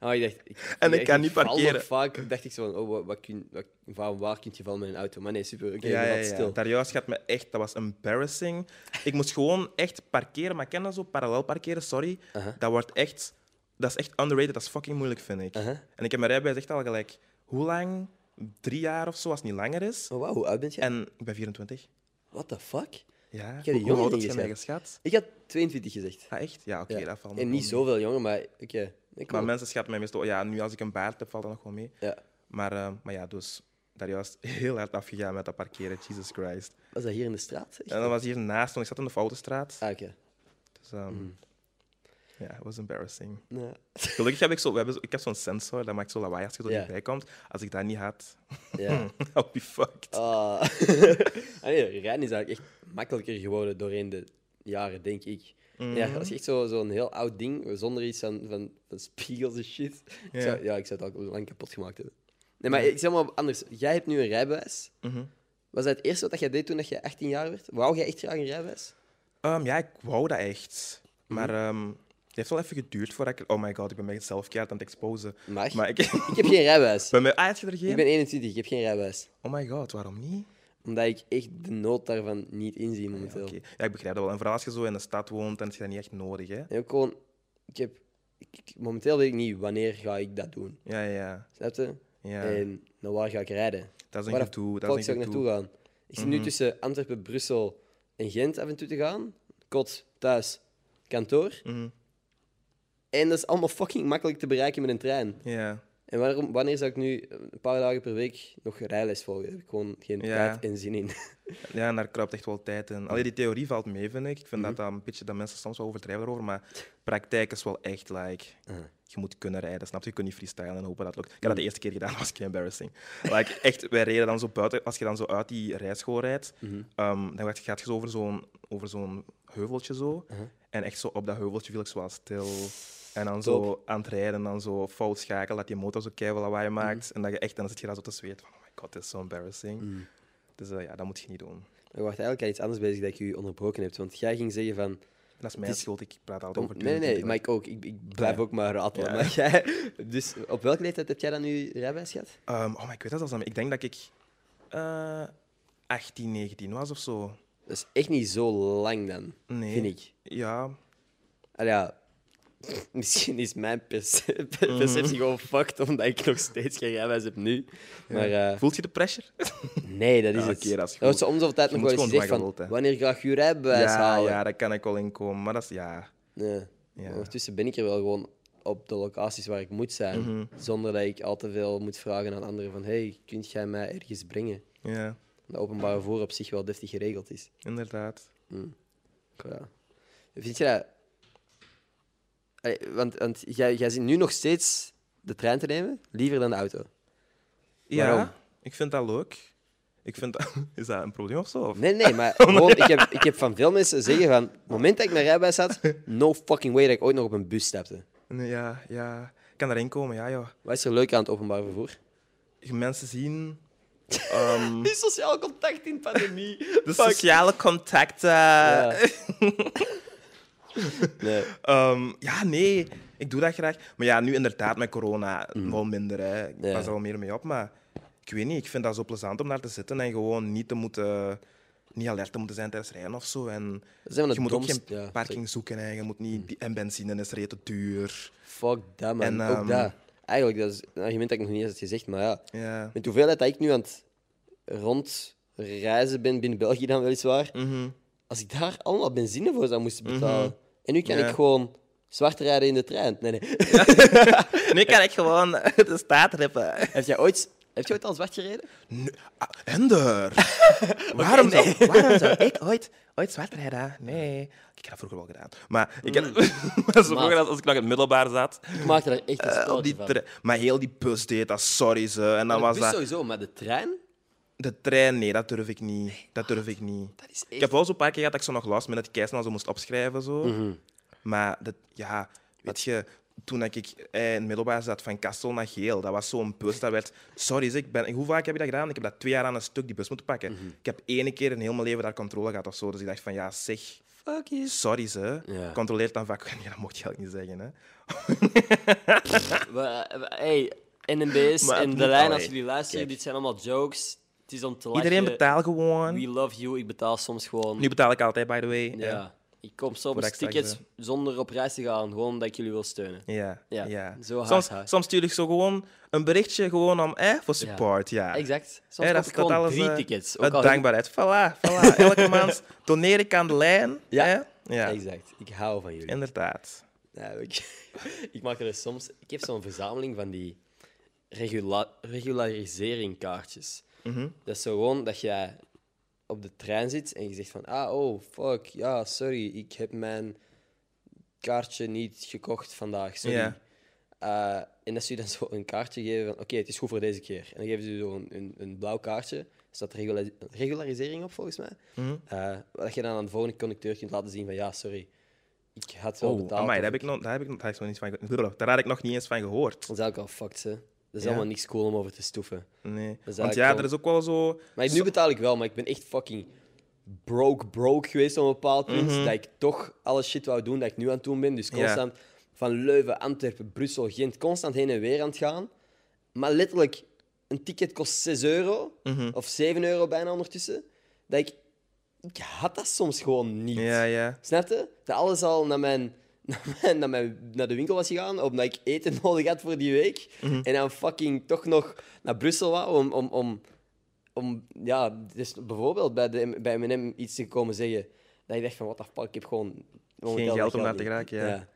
Speaker 1: Ah, ik dacht, ik,
Speaker 2: En ik
Speaker 1: dacht,
Speaker 2: kan niet
Speaker 1: val nog
Speaker 2: parkeren.
Speaker 1: Vaak dacht ik zo van, oh, wat, wat kun, wat, waar, waar kun je vallen met een auto? Maar nee, super. Oké,
Speaker 2: ja,
Speaker 1: je
Speaker 2: ja,
Speaker 1: valt
Speaker 2: ja.
Speaker 1: stil.
Speaker 2: Daar juist gaat me echt, dat was embarrassing. Ik moest gewoon echt parkeren, maar ken dat zo, parallel parkeren, sorry.
Speaker 1: Uh-huh.
Speaker 2: Dat wordt echt, dat is echt underrated, dat is fucking moeilijk, vind ik.
Speaker 1: Uh-huh.
Speaker 2: En ik heb mijn rijbewijs echt al gelijk, hoe lang? Drie jaar of zo, als het niet langer is.
Speaker 1: Oh, wauw, hoe oud ben jij?
Speaker 2: En ik ben 24.
Speaker 1: What the fuck?
Speaker 2: Ja,
Speaker 1: die
Speaker 2: hoe, hoe
Speaker 1: jongen
Speaker 2: oud
Speaker 1: niet
Speaker 2: is mij
Speaker 1: gezegd.
Speaker 2: geschat?
Speaker 1: Ik had 22 gezegd.
Speaker 2: Ah, echt? Ja, oké,
Speaker 1: Ja.
Speaker 2: dat valt nog
Speaker 1: en niet
Speaker 2: wel mee.
Speaker 1: zoveel jonger, maar oké. Nee, cool.
Speaker 2: Maar mensen schatten mij meestal, ja, nu als ik een baard heb, valt dat nog wel mee.
Speaker 1: Ja.
Speaker 2: Maar, eh, maar ja, dus daar juist heel hard afgegaan met dat parkeren, Jesus Christ.
Speaker 1: Was dat hier in de straat? zeg?
Speaker 2: En dat was hier naast, want ik zat in de Foutenstraat.
Speaker 1: Ah, oké.
Speaker 2: Dus, ehm,
Speaker 1: Mm.
Speaker 2: Ja, het was embarrassing.
Speaker 1: Nou,
Speaker 2: Gelukkig heb ik zo, we hebben, zo- ik heb zo'n sensor, dat maakt zo lawaai als je zo
Speaker 1: Ja.
Speaker 2: dichtbij komt. Als ik dat niet had,
Speaker 1: Ja.
Speaker 2: I'll be fucked.
Speaker 1: Ah. Ah, nee, rijden is eigenlijk echt makkelijker geworden doorheen de jaren, denk ik.
Speaker 2: Mhm.
Speaker 1: Ja, dat is echt zo- zo'n heel oud ding, zonder iets van, van, van spiegels en shit. Ik
Speaker 2: Ja.
Speaker 1: zou, ja, ik zou het al lang kapot gemaakt hebben. Nee, maar ik zeg maar anders. Jij hebt nu een rijbewijs.
Speaker 2: Mhm.
Speaker 1: Was dat het eerste wat jij deed toen dat je 18 jaar werd? Wou jij echt graag een rijbewijs?
Speaker 2: Ehm, ja, ik wou dat echt. Maar
Speaker 1: Mm.
Speaker 2: ehm, het heeft wel even geduurd voordat ik... Oh my god, ik ben mezelf keihard aan het exposen.
Speaker 1: Mag.
Speaker 2: Maar ik...
Speaker 1: Ik heb geen rijbewijs.
Speaker 2: Bij mij... Ah, had je er geen?
Speaker 1: Ik ben 21, ik heb geen rijbewijs.
Speaker 2: Oh my god, waarom niet?
Speaker 1: Omdat ik echt de nood daarvan niet inzie momenteel.
Speaker 2: Oké. Ah, Ja, ik begrijp dat wel. En vooral als je zo in de stad woont, dan is je dat niet echt nodig, hè?
Speaker 1: En ook gewoon, ik heb, ik- ik- momenteel weet ik niet wanneer ga ik dat doen.
Speaker 2: Ja, ja.
Speaker 1: Snap je?
Speaker 2: ja.
Speaker 1: En naar waar ga ik rijden?
Speaker 2: Dat is een
Speaker 1: Waar de
Speaker 2: gedoe, dat is
Speaker 1: fuck
Speaker 2: een
Speaker 1: zou ik
Speaker 2: gedoe. Mhm.
Speaker 1: naartoe gaan? Ik zit nu tussen Antwerpen, Brussel en Gent af en toe te gaan. Kot, thuis, kantoor.
Speaker 2: Mhm.
Speaker 1: En dat is allemaal fucking makkelijk te bereiken met een trein.
Speaker 2: Ja.
Speaker 1: En waarom, wanneer zou ik nu een paar dagen per week nog rijles volgen? Daar heb ik gewoon geen
Speaker 2: Ja.
Speaker 1: tijd en zin in.
Speaker 2: Ja, en daar kruipt echt wel tijd in. Alleen die theorie valt mee, vind ik. Ik vind dat, dat een beetje dat mensen soms wel overdrijven erover, maar praktijk is wel echt like. Je moet kunnen rijden, snap je? Je kunt niet freestylen en hopen dat het lukt. Ik
Speaker 1: Mm.
Speaker 2: had dat de eerste keer gedaan, dat was kei embarrassing. Like, echt, wij reden dan zo buiten, als je dan zo uit die rijschool rijdt,
Speaker 1: Mhm.
Speaker 2: ehm, dan gaat- gaat je zo over zo'n over zo'n heuveltje zo.
Speaker 1: Uh-huh.
Speaker 2: En echt zo op dat heuveltje viel ik zo wel stil. En dan zo aan het rijden, en dan zo fout schakelen, dat die motor zo keihard
Speaker 1: Mhm.
Speaker 2: lawaai maakt. En dat je echt, dan zit je daar zo te zweten van, oh my god, dit is zo embarrassing.
Speaker 1: Mm.
Speaker 2: Dus eh, ja, dat moet je niet doen.
Speaker 1: Ik wacht eigenlijk aan iets anders bezig dat ik u onderbroken heb. Want jij ging zeggen van,
Speaker 2: Dat is mijn
Speaker 1: Het is-
Speaker 2: schuld, ik praat altijd
Speaker 1: Kom-
Speaker 2: over
Speaker 1: nee, nee, nee,
Speaker 2: duurlijk.
Speaker 1: maar ik ook. Ik, ik blijf
Speaker 2: Ja.
Speaker 1: ook maar ratelen.
Speaker 2: Ja.
Speaker 1: Maar jij, dus op welke leeftijd heb jij dan nu rijbewijs gehad?
Speaker 2: Ehm, oh, maar ik weet dat zelfs niet meer. Ik denk dat ik eh 18, 19 was of zo.
Speaker 1: Dat is echt niet zo lang dan,
Speaker 2: Nee.
Speaker 1: vind ik.
Speaker 2: Ja,
Speaker 1: Al ja, misschien is mijn perce-
Speaker 2: Mhm.
Speaker 1: perceptie gewoon fucked, omdat ik nog steeds geen rijbewijs heb nu. Maar eh,
Speaker 2: voelt je de pressure?
Speaker 1: nee, dat is
Speaker 2: Ja,
Speaker 1: het.
Speaker 2: oké, dat is goed.
Speaker 1: wordt zo om zoveel tijd
Speaker 2: Je
Speaker 1: nog wel
Speaker 2: moet
Speaker 1: eens
Speaker 2: gewoon
Speaker 1: gezegd van,
Speaker 2: waggelen, hè.
Speaker 1: wanneer ga je je rijbewijs
Speaker 2: ja,
Speaker 1: halen?
Speaker 2: ja, daar kan ik wel in komen. Maar dat is ja.
Speaker 1: Nee.
Speaker 2: Ja.
Speaker 1: Ondertussen ben ik er wel gewoon op de locaties waar ik moet zijn,
Speaker 2: Mhm.
Speaker 1: zonder dat ik al te veel moet vragen aan anderen van, hey, kunt jij mij ergens brengen?
Speaker 2: Ja,
Speaker 1: De openbare vervoer op zich wel deftig geregeld is.
Speaker 2: inderdaad.
Speaker 1: Ja. Vind je dat... Allee, want want jij, jij zit nu nog steeds de trein te nemen, liever dan de auto.
Speaker 2: Ja,
Speaker 1: Waarom?
Speaker 2: ik vind dat leuk. Ik vind dat... Is dat een probleem of zo? Of-
Speaker 1: Nee, nee, maar gewoon, ik, heb, ik heb van veel mensen zeggen van... Het moment dat ik naar rijbewijs had, no fucking way dat ik ooit nog op een bus stapte.
Speaker 2: Nee, ja, ja. Ik kan daarin komen, ja, joh.
Speaker 1: Wat is er leuk aan het openbaar vervoer?
Speaker 2: Je mensen zien... ehm,
Speaker 1: Die sociaal contact in pandemie.
Speaker 2: de sociale contacten.
Speaker 1: Ja. nee.
Speaker 2: Ehm, ja, nee, ik doe dat graag. Maar ja, nu inderdaad met corona wel minder. Hè. Ik
Speaker 1: Ja.
Speaker 2: pas er wel meer mee op. Maar ik weet niet, ik vind dat zo plezant om daar te zitten en gewoon niet te moeten... Niet alert te moeten zijn tijdens rijden of zo. En
Speaker 1: Dat zijn van
Speaker 2: je
Speaker 1: de
Speaker 2: moet ook geen
Speaker 1: domst- ja,
Speaker 2: parking zoeken. Hè. Je moet niet... die- En benzine is rete duur.
Speaker 1: Fuck dat, man.
Speaker 2: En,
Speaker 1: Ook
Speaker 2: ehm,
Speaker 1: dat. Eigenlijk, dat is een argument dat ik nog niet eens had gezegd, maar ja.
Speaker 2: Ja.
Speaker 1: Met de hoeveelheid dat ik nu aan het rondreizen ben, binnen België dan weliswaar,
Speaker 2: Mhm.
Speaker 1: als ik daar allemaal benzine voor zou moeten betalen. En nu kan
Speaker 2: Ja.
Speaker 1: ik gewoon zwart rijden in de trein. Nee, nee.
Speaker 2: Nu kan ik gewoon de staat rippen.
Speaker 1: heb, jij ooit, heb jij ooit al zwart gereden?
Speaker 2: Ah, Hender! waarom,
Speaker 1: nee.
Speaker 2: zou, waarom zou ik ooit, ooit zwart rijden? Nee. Ik heb dat vroeger wel gedaan. Maar ik heb, Mm. maar zo vroeger als, als ik nog in het middelbaar zat,
Speaker 1: Ik maakte daar echt een
Speaker 2: eh, op
Speaker 1: story
Speaker 2: die
Speaker 1: van.
Speaker 2: tre- maar heel die bus deed dat, sorry ze. En dan
Speaker 1: de
Speaker 2: was
Speaker 1: bus
Speaker 2: dat...
Speaker 1: sowieso, maar de trein?
Speaker 2: De trein, nee, dat durf ik niet. Dat durf ik niet.
Speaker 1: Dat is
Speaker 2: Ik
Speaker 1: echt...
Speaker 2: heb wel zo'n paar keer gehad dat ik zo nog last met het keisnaal zo moest opschrijven. Zo.
Speaker 1: Mhm.
Speaker 2: Maar dat, ja, weet je, toen dat ik eh, in het middelbaar zat van Kastel naar Geel, dat was zo'n bus dat werd. Sorry, zeg, ik ben, hoe vaak heb je dat gedaan? Ik heb dat twee jaar aan een stuk die bus moeten pakken.
Speaker 1: Mhm.
Speaker 2: Ik heb ene keer in heel mijn leven daar controle gehad of zo. Dus ik dacht van ja, zeg.
Speaker 1: Fuck you.
Speaker 2: Sorry ze,
Speaker 1: Ja.
Speaker 2: controleert dan vaak. Nee, dat mocht je eigenlijk niet zeggen. Hè.
Speaker 1: We- we- Hey, NMBS
Speaker 2: Maar het
Speaker 1: en de
Speaker 2: moet
Speaker 1: lijn,
Speaker 2: wel,
Speaker 1: als
Speaker 2: hey.
Speaker 1: jullie luisteren,
Speaker 2: Kijk.
Speaker 1: dit zijn allemaal jokes. Het is om te lachen.
Speaker 2: Iedereen betaalt
Speaker 1: We
Speaker 2: gewoon.
Speaker 1: love you. Ik betaal soms gewoon...
Speaker 2: Nu betaal ik altijd, by the way.
Speaker 1: ja. Ik koop soms
Speaker 2: Voor extra
Speaker 1: tickets zonder op reis te gaan, gewoon omdat ik jullie wil steunen.
Speaker 2: Ja,
Speaker 1: Ja,
Speaker 2: ja.
Speaker 1: zo hard,
Speaker 2: soms,
Speaker 1: hard.
Speaker 2: soms stuur ik zo gewoon een berichtje gewoon om, eh, voor support. Ja.
Speaker 1: Exact. Soms
Speaker 2: Hè,
Speaker 1: koop ik
Speaker 2: dat is dat
Speaker 1: gewoon
Speaker 2: alles,
Speaker 1: drie
Speaker 2: eh,
Speaker 1: tickets.
Speaker 2: Uit
Speaker 1: Ook al heb ik-
Speaker 2: dankbaarheid. Voilà, voilà. Elke maand doneer ik aan de lijn.
Speaker 1: Ja.
Speaker 2: hè? ja.
Speaker 1: Exact. Ik hou van jullie.
Speaker 2: inderdaad.
Speaker 1: Ja, ik, ik maak er dus soms... Ik heb zo'n verzameling van die regula regulariseringkaartjes.
Speaker 2: Mhm.
Speaker 1: Dat is zo gewoon dat jij op de trein zit en je zegt van... Ah, oh, fuck, ja, sorry. Ik heb mijn kaartje niet gekocht vandaag, sorry.
Speaker 2: Ja.
Speaker 1: Eh, en dat ze je dan zo een kaartje geven van... Oké, het is goed voor deze keer. En dan geven ze je zo een, een, een blauw kaartje. Er staat regula- regularisering op, volgens mij.
Speaker 2: Mhm.
Speaker 1: Eh, wat je dan aan de volgende conducteur kunt laten zien van... Ja, sorry. Ik had wel
Speaker 2: Oh,
Speaker 1: betaald.
Speaker 2: amai,
Speaker 1: of
Speaker 2: daar heb ik nog, daar heb ik nog, daar heb ik nog niet van gehoord. Blablabla, Daar had ik nog niet eens van gehoord.
Speaker 1: Dat is eigenlijk al fucked, hè. Dat is
Speaker 2: Ja.
Speaker 1: allemaal niks cool om over te stoeven.
Speaker 2: Nee.
Speaker 1: is
Speaker 2: Want
Speaker 1: eigenlijk
Speaker 2: ja,
Speaker 1: wel-
Speaker 2: er is ook wel zo...
Speaker 1: Maar nu betaal ik wel, maar ik ben echt fucking broke, broke geweest op een bepaald punt. Dat ik toch alle shit wou doen dat ik nu aan het doen ben. Dus
Speaker 2: Mhm. Ja.
Speaker 1: constant van Leuven, Antwerpen, Brussel, Gent, constant heen en weer aan het gaan. Maar letterlijk, een ticket kost 6 euro
Speaker 2: Mhm.
Speaker 1: of 7 euro bijna ondertussen. Dat ik, ik had dat soms gewoon niet.
Speaker 2: Ja, ja.
Speaker 1: Snap je? Dat alles al naar, mijn, naar, mijn, naar, mijn, naar de winkel was gegaan, omdat ik eten nodig had voor die week.
Speaker 2: Mhm.
Speaker 1: En dan fucking toch nog naar Brussel wou om... om, om, om ja, dus bijvoorbeeld bij, de, bij M&M iets te komen zeggen. Dat ik dacht van, what the fuck, ik heb gewoon... momenteel
Speaker 2: geld
Speaker 1: dat
Speaker 2: om naar te geraken, ja.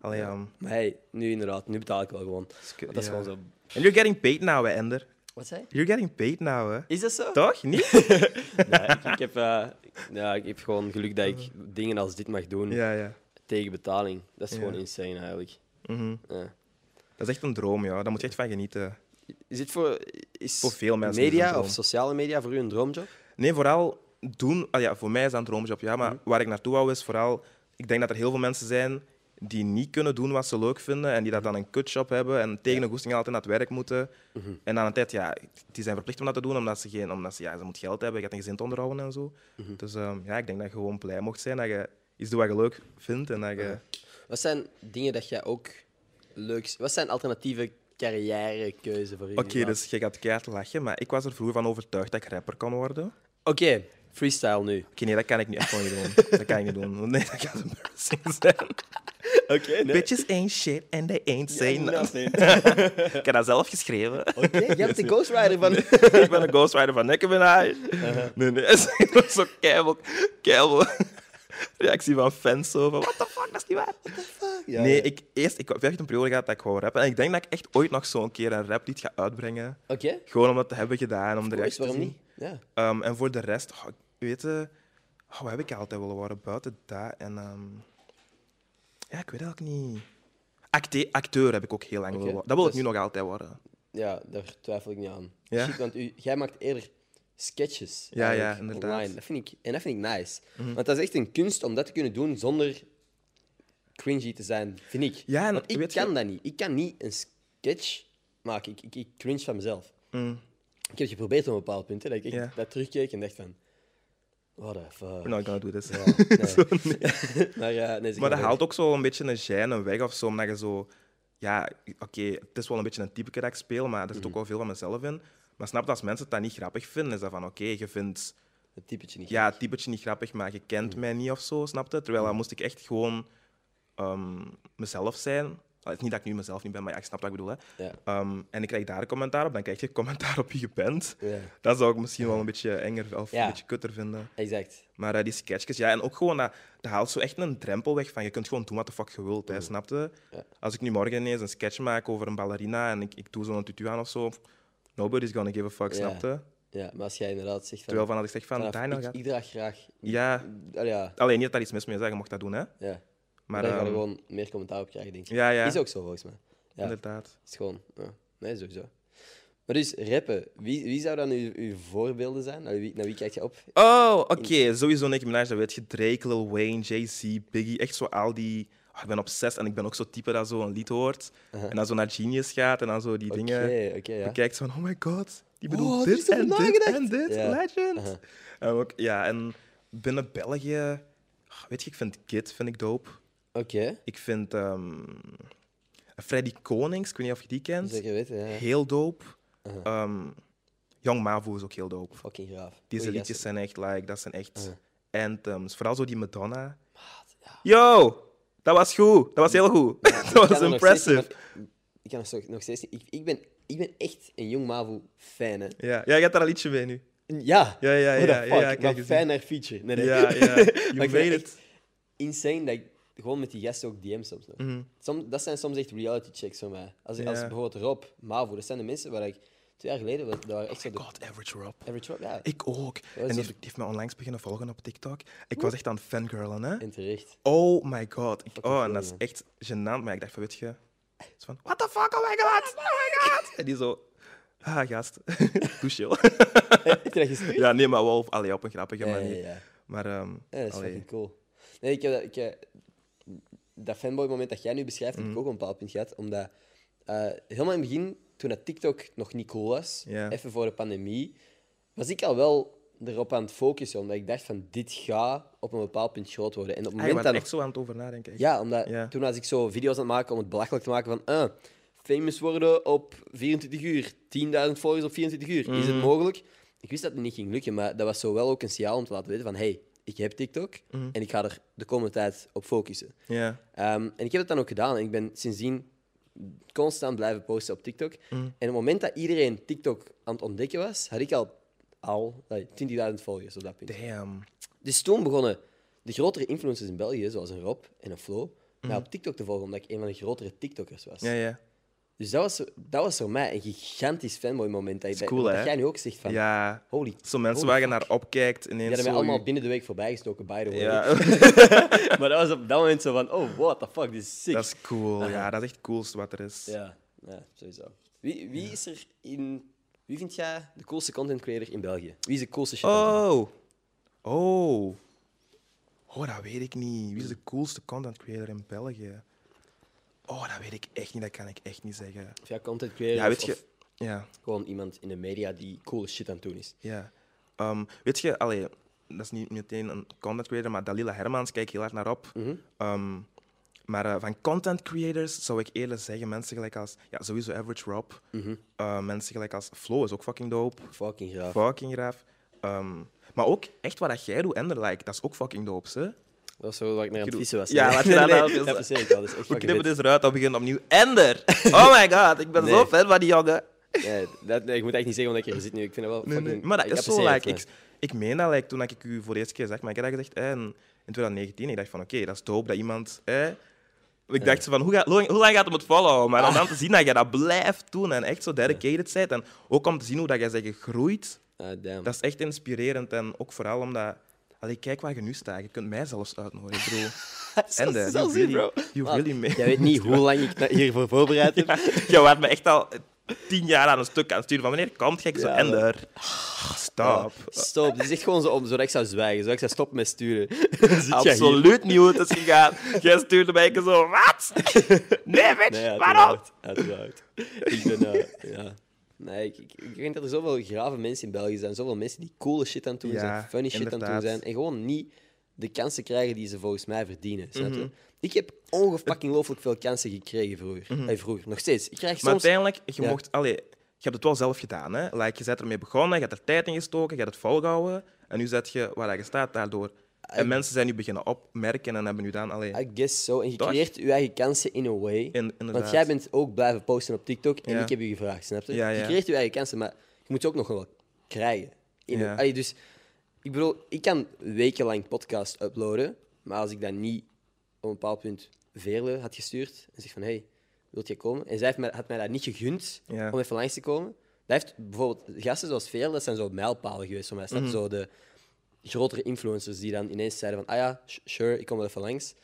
Speaker 2: Allee,
Speaker 1: Ja.
Speaker 2: ehm,
Speaker 1: Maar hey, nu inderdaad, nu betaal ik wel gewoon.
Speaker 2: sku-
Speaker 1: Want dat is
Speaker 2: ja.
Speaker 1: gewoon zo...
Speaker 2: And you're getting paid now, hè, Ender.
Speaker 1: Wat zei je?
Speaker 2: You're getting paid now, hè.
Speaker 1: Is dat zo?
Speaker 2: Toch? Niet?
Speaker 1: Nee, ik, ik heb, eh, ja, ik heb gewoon geluk dat ik dingen als dit mag doen
Speaker 2: ja, ja.
Speaker 1: tegen betaling. Dat is gewoon
Speaker 2: Ja.
Speaker 1: insane eigenlijk.
Speaker 2: Mhm.
Speaker 1: Ja.
Speaker 2: Dat is echt een droom, ja. Daar moet je echt van genieten.
Speaker 1: Is dit voor, is
Speaker 2: Voor veel mensen is het
Speaker 1: media
Speaker 2: een
Speaker 1: of
Speaker 2: droom.
Speaker 1: sociale media voor u een droomjob?
Speaker 2: Nee, vooral doen. ah ja, voor mij is dat een droomjob, ja. Maar waar ik naartoe wou is vooral. Ik denk dat er heel veel mensen zijn die niet kunnen doen wat ze leuk vinden. En die dat dan een kutjob hebben. En tegen een goesting altijd naar het werk moeten. En aan de tijd, ja, die zijn verplicht om dat te doen. Omdat ze, geen, omdat ze, ja, ze moet geld hebben. Je gaat een gezin te onderhouden en zo. Dus ehm, ja, ik denk dat je gewoon blij mocht zijn dat je iets doet wat je leuk vindt. En dat je...
Speaker 1: Wat zijn dingen dat jij ook leuk... Wat zijn alternatieve carrièrekeuzen voor je?
Speaker 2: Oké, dus je gaat keihard lachen, maar ik was er vroeger van overtuigd dat ik rapper kan worden. Oké,
Speaker 1: Oké, freestyle nu.
Speaker 2: nee, dat kan ik nu echt wel niet doen. Dat kan ik niet doen. Nee, dat gaat embarrassing zijn.
Speaker 1: Oké,
Speaker 2: Bitches ain't shit and they ain't say nothing. Ik heb dat zelf geschreven.
Speaker 1: Oké, je hebt de ghostwriter van...
Speaker 2: ik ben een ghostwriter van Nekkebenaar. Nee, nee. Dat was zo keibel, keibel. Reactie van fans zo van, what the fuck, dat is niet waar.
Speaker 1: Ja,
Speaker 2: nee,
Speaker 1: ja.
Speaker 2: ik, eerst, ik heb echt een periode gehad dat ik gewoon rappen. En ik denk dat ik echt ooit nog zo'n keer een raplied ga uitbrengen.
Speaker 1: Oké,
Speaker 2: Gewoon om dat te hebben gedaan, om de
Speaker 1: Boys,
Speaker 2: reactie te
Speaker 1: waarom
Speaker 2: zien.
Speaker 1: niet? Ja.
Speaker 2: Ehm, en voor de rest, oh, ik weet je, oh, wat heb ik altijd willen worden buiten dat? En ehm, ja, ik weet eigenlijk niet. Acte- acteur heb ik ook heel lang willen worden. Dat wil ik
Speaker 1: dus-
Speaker 2: nu nog altijd worden.
Speaker 1: ja, daar twijfel ik niet aan.
Speaker 2: Ja?
Speaker 1: Shit, want u, jij maakt eerder sketches
Speaker 2: Ja, ja,
Speaker 1: eigenlijk
Speaker 2: inderdaad. Mhm.
Speaker 1: online. Dat vind ik, en dat vind ik nice. Want dat is echt een kunst om dat te kunnen doen zonder cringy te zijn, vind ik.
Speaker 2: Ja, en
Speaker 1: want ik
Speaker 2: weet
Speaker 1: kan
Speaker 2: je-
Speaker 1: dat niet. Ik kan niet een sketch maken. Ik, ik, ik cringe van mezelf. Ik heb het geprobeerd op een bepaald punt, hè, dat ik echt
Speaker 2: Mhm. Ja.
Speaker 1: dat terugkeek en dacht van... What the fuck.
Speaker 2: We're not gonna do this.
Speaker 1: Nee. maar eh, nee, zeg
Speaker 2: dus. Maar dat
Speaker 1: verder.
Speaker 2: haalt ook zo een beetje een gêne weg of zo, omdat je zo... Ja, oké, het is wel een beetje een typeke dat ik speel, maar er zit ook wel veel van mezelf in. Maar snap dat als mensen dat niet grappig vinden, is dat van oké, je vindt
Speaker 1: Het typetje niet.
Speaker 2: ja, het typetje niet grappig, maar je kent
Speaker 1: Mm.
Speaker 2: mij niet of zo, snap je? Terwijl dan moest ik echt gewoon ehm, mezelf zijn. Allee, het is niet dat ik nu mezelf niet ben, maar ja, ik snap wat ik bedoel. Hè.
Speaker 1: Ja.
Speaker 2: Ehm, en ik krijg daar een commentaar op, dan krijg je commentaar op wie je bent.
Speaker 1: Ja.
Speaker 2: Dat zou ik misschien wel een beetje enger of
Speaker 1: Ja.
Speaker 2: een beetje kutter vinden.
Speaker 1: Exact.
Speaker 2: Maar eh, die sketchjes, ja, en ook gewoon, dat, dat haalt zo echt een drempel weg van je kunt gewoon doen wat de fuck je wilt,
Speaker 1: Mm.
Speaker 2: hè, snap je? Als ik nu morgen ineens een sketch maak over een ballerina en ik, ik doe zo'n tutu aan of zo, nobody's gonna give a fuck,
Speaker 1: Ja.
Speaker 2: snap je?
Speaker 1: Ja, maar als jij inderdaad zegt van...
Speaker 2: Terwijl van als ik zeg van,
Speaker 1: vanaf
Speaker 2: daar nou
Speaker 1: ik,
Speaker 2: gaat...
Speaker 1: ik draag graag...
Speaker 2: Ja,
Speaker 1: Ah, ja,
Speaker 2: alleen niet dat daar iets mis mee is, hè, je mocht dat doen, hè?
Speaker 1: ja.
Speaker 2: Maar
Speaker 1: daar ga je
Speaker 2: ehm,
Speaker 1: gewoon meer commentaar op krijgen, denk ik.
Speaker 2: ja, ja,
Speaker 1: Is ook zo, volgens mij. Ja,
Speaker 2: inderdaad.
Speaker 1: is gewoon... Ja. Nee, sowieso. Maar dus, rappen. Wie, wie zou dan uw, uw voorbeelden zijn? Naar wie, naar wie kijk je op?
Speaker 2: Oh, oké, sowieso Nicki Minaj, dat weet je. Drake, Lil Wayne, Jay-Z, Biggie, echt zo al die... Oh, ik ben obsessed en ik ben ook zo'n type dat zo een lied hoort en dan zo naar Genius gaat en dan zo die
Speaker 1: Oké,
Speaker 2: dingen...
Speaker 1: oké, ja.
Speaker 2: bekijkt van, oh my god, die
Speaker 1: Oh,
Speaker 2: bedoelt
Speaker 1: die
Speaker 2: dit
Speaker 1: is erover
Speaker 2: en dit
Speaker 1: nagedacht.
Speaker 2: en dit,
Speaker 1: Ja.
Speaker 2: legend.
Speaker 1: Aha.
Speaker 2: En ook, ja, en binnen België, ah, weet je, ik vind Kid vind ik dope.
Speaker 1: Oké,
Speaker 2: Ik vind ehm, Freddy Konings, ik weet niet of je die kent,
Speaker 1: zeker weten, ja.
Speaker 2: heel dope.
Speaker 1: Uh-huh.
Speaker 2: Ehm, Young Mavo is ook heel dope.
Speaker 1: Fucking graaf.
Speaker 2: Deze
Speaker 1: Goeie
Speaker 2: liedjes
Speaker 1: gasten.
Speaker 2: zijn echt, like, dat zijn echt anthems. Vooral zo die Madonna.
Speaker 1: Maat, ja.
Speaker 2: Yo, dat was goed, dat was heel goed. dat
Speaker 1: Ik kan
Speaker 2: was
Speaker 1: er nog steeds niet
Speaker 2: impressive.
Speaker 1: van- Ik kan er zo- nog steeds niet... Ik, ik, ben, ik ben echt een jong MAVO-fan, hè.
Speaker 2: Ja, jij gaat daar een liedje bij nu.
Speaker 1: Ja.
Speaker 2: Ja, ja,
Speaker 1: What the
Speaker 2: ja, ja,
Speaker 1: fuck?
Speaker 2: ja,
Speaker 1: ik
Speaker 2: ik
Speaker 1: ben
Speaker 2: heb gezien.
Speaker 1: fan naar feature. Nee, nee.
Speaker 2: Ja, ja, you
Speaker 1: Maar ik vind
Speaker 2: made
Speaker 1: het
Speaker 2: it.
Speaker 1: echt Insane dat ik gewoon met die gasten ook DM soms nog. Som- dat zijn soms echt reality checks voor mij. Als, als
Speaker 2: Mhm. Ja.
Speaker 1: bijvoorbeeld Rob, Mavo, dat zijn de mensen waar ik twee jaar geleden was, dat waren echt zo de
Speaker 2: God, average Rob.
Speaker 1: average Rob, ja.
Speaker 2: Ik ook. En
Speaker 1: is
Speaker 2: die
Speaker 1: dat?
Speaker 2: heeft, die heeft me onlangs beginnen volgen op TikTok. Ik was echt aan het fangirlen, hè.
Speaker 1: En terecht.
Speaker 2: Oh my god. Ik- oh, en
Speaker 1: cool,
Speaker 2: dat is
Speaker 1: man.
Speaker 2: echt gênant. Maar ik dacht van, weet je... Zo van, what the fuck, oh my god, oh my god. En die zo... Ah, gast. Doe chill.
Speaker 1: Heb je dat gestuurd?
Speaker 2: ja, nee, maar wel op, allee, op een grappige
Speaker 1: Ja,
Speaker 2: manier.
Speaker 1: ja, ja.
Speaker 2: Maar, ehm
Speaker 1: Ja, dat is
Speaker 2: allee.
Speaker 1: fucking cool. Nee, ik heb dat, ik, heb- dat fanboy-moment dat jij nu beschrijft, heb ik
Speaker 2: Mhm.
Speaker 1: ook op een bepaald punt gehad. Omdat eh, helemaal in het begin, toen dat TikTok nog niet cool was,
Speaker 2: Ja.
Speaker 1: even voor de pandemie, was ik al wel erop aan het focussen. Omdat ik dacht van, dit gaat op een bepaald punt groot worden. En op het
Speaker 2: Ah, je
Speaker 1: moment
Speaker 2: bent
Speaker 1: dat...
Speaker 2: echt zo aan het over nadenken. echt.
Speaker 1: Ja, omdat
Speaker 2: Ja.
Speaker 1: toen was ik zo video's aan het maken om het belachelijk te maken van... eh, famous worden op 24 uur. 10.000 volgers op 24 uur. Is het mogelijk? Ik wist dat het niet ging lukken, maar dat was zo wel ook een signaal om te laten weten van... Hey, ik heb TikTok en ik ga er de komende tijd op focussen.
Speaker 2: Ja.
Speaker 1: Ehm, en ik heb dat dan ook gedaan. En ik ben sindsdien constant blijven posten op TikTok. En op het moment dat iedereen TikTok aan het ontdekken was, had ik al, al eh, 20.000 volgers op dat punt.
Speaker 2: Damn.
Speaker 1: Dus toen begonnen de grotere influencers in België, zoals een Rob en een Flo, mij op TikTok te volgen, omdat ik een van de grotere TikTokers was.
Speaker 2: Mhm. Ja, ja.
Speaker 1: Dus dat was, dat was voor mij een gigantisch fanboy-moment. Dat, je-
Speaker 2: is cool,
Speaker 1: dat
Speaker 2: hè?
Speaker 1: jij nu ook zegt van...
Speaker 2: Ja.
Speaker 1: Holy...
Speaker 2: Zo mensen
Speaker 1: holy
Speaker 2: waar je naar opkijkt,
Speaker 1: Die
Speaker 2: ineens
Speaker 1: hadden mij
Speaker 2: zo...
Speaker 1: allemaal binnen de week voorbijgestoken, by the way.
Speaker 2: Ja,
Speaker 1: maar dat was op dat moment zo van... Oh, what the fuck, dit is sick.
Speaker 2: dat is cool. Ja, dat is echt het coolste wat er is.
Speaker 1: Ja, ja, sowieso. Wie, wie is er in... Wie vind jij de coolste content creator in België? Wie is de coolste shit? aan het doen?
Speaker 2: Oh. Oh. Oh, dat weet ik niet. Wie is de coolste content creator in België? Oh, dat weet ik echt niet. Dat kan ik echt niet zeggen.
Speaker 1: Of ja, content creator
Speaker 2: Ja, weet
Speaker 1: of,
Speaker 2: je...
Speaker 1: of
Speaker 2: Ja,
Speaker 1: gewoon iemand in de media die coole shit aan het doen is.
Speaker 2: ja. Ehm, weet je, allee, dat is niet meteen een content creator, maar Dalila Hermans kijk ik heel hard naar op. Ehm, maar eh, van content creators zou ik eerder zeggen mensen gelijk als, ja, sowieso Average Rob. Eh, mensen gelijk als Flow is ook fucking dope.
Speaker 1: Fucking graag.
Speaker 2: Fucking graaf. Ehm, maar ook echt wat dat jij doet, Ender, like, dat is ook fucking dope, hè?
Speaker 1: Dat is zo wat ik naar aan het
Speaker 2: Kilo-
Speaker 1: vissen was.
Speaker 2: Ja, laat je daar nou vissen.
Speaker 1: dat verzeker ik wel. Dat is echt
Speaker 2: We
Speaker 1: fucking
Speaker 2: knippen
Speaker 1: vet.
Speaker 2: dus eruit en beginnen opnieuw. Ender! Oh my god, ik ben
Speaker 1: Nee.
Speaker 2: zo fan van die jongen.
Speaker 1: Nee, dat, nee, ik moet echt niet zeggen omdat ik er zit nu. Ik vind dat wel
Speaker 2: Nee,
Speaker 1: fucking...
Speaker 2: nee. Maar dat
Speaker 1: ik
Speaker 2: is zo,
Speaker 1: apprecieer
Speaker 2: like,
Speaker 1: het,
Speaker 2: ik, ik meen dat like, toen ik u voor de eerste keer zag, maar ik had dat gezegd eh, in, in 2019. Ik dacht van, oké, dat is dope dat iemand... eh, ik dacht zo van, hoe, ga, hoe, hoe lang gaat hem het volhouden?
Speaker 1: Ah.
Speaker 2: Maar om dan te zien dat je dat blijft doen en echt zo dedicated bent en ook om te zien hoe dat jij bent gegroeid,
Speaker 1: maar- Ah, damn.
Speaker 2: dat is echt inspirerend. En ook vooral omdat... Allee, kijk waar je nu staat. Je kunt mij zelfs uitnodigen, ik bedoel... Ender,
Speaker 1: zo
Speaker 2: you
Speaker 1: zie,
Speaker 2: really,
Speaker 1: bro.
Speaker 2: you
Speaker 1: Maat,
Speaker 2: really made-
Speaker 1: Jij weet niet hoe lang ik na- hiervoor voorbereid heb.
Speaker 2: Je werd me echt al tien jaar aan een stuk aan het sturen. Van wanneer komt gek zo
Speaker 1: Ja,
Speaker 2: Ender? Ah, Stop.
Speaker 1: Stop. Dit is echt gewoon zo om, zodat ik zou zwijgen. Zodat ik zou stoppen met sturen.
Speaker 2: Absoluut niet hoe het is gegaan. Jij stuurde mij een keer zo, wat? Nee, bitch,
Speaker 1: Nee,
Speaker 2: waarom?
Speaker 1: uiteraard. Uiteraard. Ik ben... eh, ja. Nee, ik, ik, ik weet dat er zoveel grave mensen in België zijn. Zoveel mensen die coole shit aan het doen
Speaker 2: Ja,
Speaker 1: zijn. Funny shit aan het
Speaker 2: inderdaad.
Speaker 1: doen zijn. En gewoon niet de kansen krijgen die ze volgens mij verdienen. Snap je?
Speaker 2: Mhm.
Speaker 1: Ik heb ongelooflijk veel kansen gekregen vroeger. Eh, vroeger. Nog steeds. Ik krijg
Speaker 2: Mhm. Maar
Speaker 1: soms...
Speaker 2: uiteindelijk, je
Speaker 1: Ja.
Speaker 2: mocht, allee, je hebt het wel zelf gedaan. Hè? Like, je bent ermee begonnen, je hebt er tijd in gestoken, je hebt het volgehouden. En nu zet je waar je staat daardoor. En mensen zijn nu beginnen opmerken en hebben nu dan... Allee,
Speaker 1: I guess so. En je
Speaker 2: Toch?
Speaker 1: creëert je eigen kansen in a way. Want
Speaker 2: inderdaad.
Speaker 1: jij bent ook blijven posten op TikTok en
Speaker 2: Ja.
Speaker 1: ik heb je gevraagd, snap je?
Speaker 2: Ja,
Speaker 1: Je
Speaker 2: ja.
Speaker 1: creëert je eigen kansen, maar je moet ze ook nog wel krijgen. In
Speaker 2: Ja.
Speaker 1: Allee, dus ik bedoel, ik kan wekenlang podcast uploaden, maar als ik dat niet op een bepaald punt Veerle had gestuurd en zeg van, hey, wilt jij komen? En zij heeft mij, had mij dat niet gegund
Speaker 2: Ja.
Speaker 1: om even langs te komen. Dat heeft bijvoorbeeld gasten zoals Veerle, dat zijn zo mijlpalen geweest voor mij. Snap je? Zo de grotere influencers die dan ineens zeiden van, ah ja, sh- sure, ik kom wel even langs.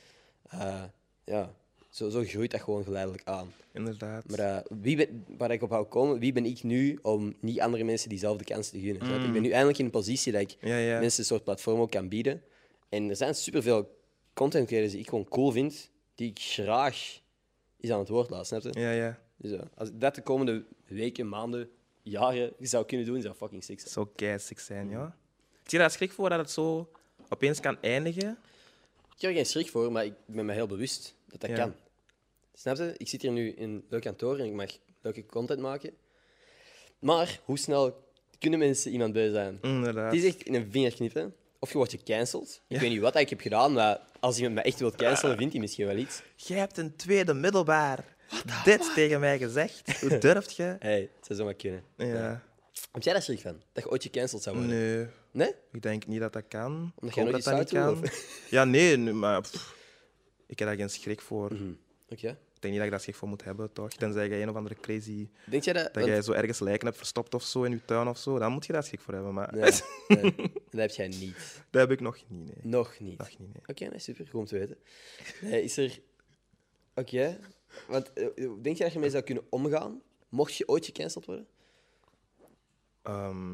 Speaker 1: Eh, ja, zo, zo groeit dat gewoon geleidelijk aan.
Speaker 2: Inderdaad.
Speaker 1: Maar eh, wie ben, waar ik op wou komen, wie ben ik nu om niet andere mensen diezelfde kans te gunnen? Snap je? Ik ben nu eindelijk in een positie dat ik
Speaker 2: Mm. Ja, ja.
Speaker 1: mensen een soort platform ook kan bieden. En er zijn superveel content creators die ik gewoon cool vind, die ik graag eens aan het woord laat, snap je?
Speaker 2: Ja, ja.
Speaker 1: Dus, eh, als ik dat de komende weken, maanden, jaren zou kunnen doen, zou fucking sick zijn.
Speaker 2: Zo keisig zijn, ja. Zie je daar schrik voor dat het zo opeens kan eindigen?
Speaker 1: Ik heb er geen schrik voor, maar ik ben me heel bewust dat dat
Speaker 2: Ja.
Speaker 1: kan. Snap je? Ik zit hier nu in een leuk kantoor en ik mag leuke content maken. Maar hoe snel kunnen mensen iemand bij
Speaker 2: Mm.
Speaker 1: zijn?
Speaker 2: Inderdaad.
Speaker 1: Het is echt in een vingerknip, hè? Of je wordt gecanceld. Ik weet niet wat ik heb gedaan, maar als iemand me echt wil cancelen, vindt hij misschien wel iets.
Speaker 2: Jij hebt een tweede middelbaar. Dit tegen mij gezegd. Hoe durft je?
Speaker 1: Hé, hey, het zou zomaar kunnen.
Speaker 2: Ja.
Speaker 1: Heb jij daar schrik van? Dat je ooit gecanceld zou worden?
Speaker 2: Nee,
Speaker 1: Nee?
Speaker 2: ik denk niet dat dat kan.
Speaker 1: Omdat
Speaker 2: Ik
Speaker 1: jij
Speaker 2: hoop
Speaker 1: nooit
Speaker 2: dat dat
Speaker 1: iets zou doen,
Speaker 2: Ja, nee, nu, maar pff, ik heb daar geen schrik voor.
Speaker 1: Mhm. Oké.
Speaker 2: Ik denk niet dat je daar schrik voor moet hebben, toch? Tenzij jij een of andere crazy.
Speaker 1: Denk jij dat?
Speaker 2: dat
Speaker 1: want-
Speaker 2: jij zo ergens lijken hebt verstopt of zo in je tuin of zo. Dan moet je daar schrik voor hebben. Maar
Speaker 1: Nee, nee, dat heb jij niet.
Speaker 2: dat heb ik nog niet. Nee.
Speaker 1: Nog niet.
Speaker 2: Nog niet, nee.
Speaker 1: Oké, nee, super. Goed om te weten. Nee, is er... Oké. Want eh, denk je dat je ermee zou kunnen omgaan? Mocht je ooit gecanceld worden?
Speaker 2: Ehm,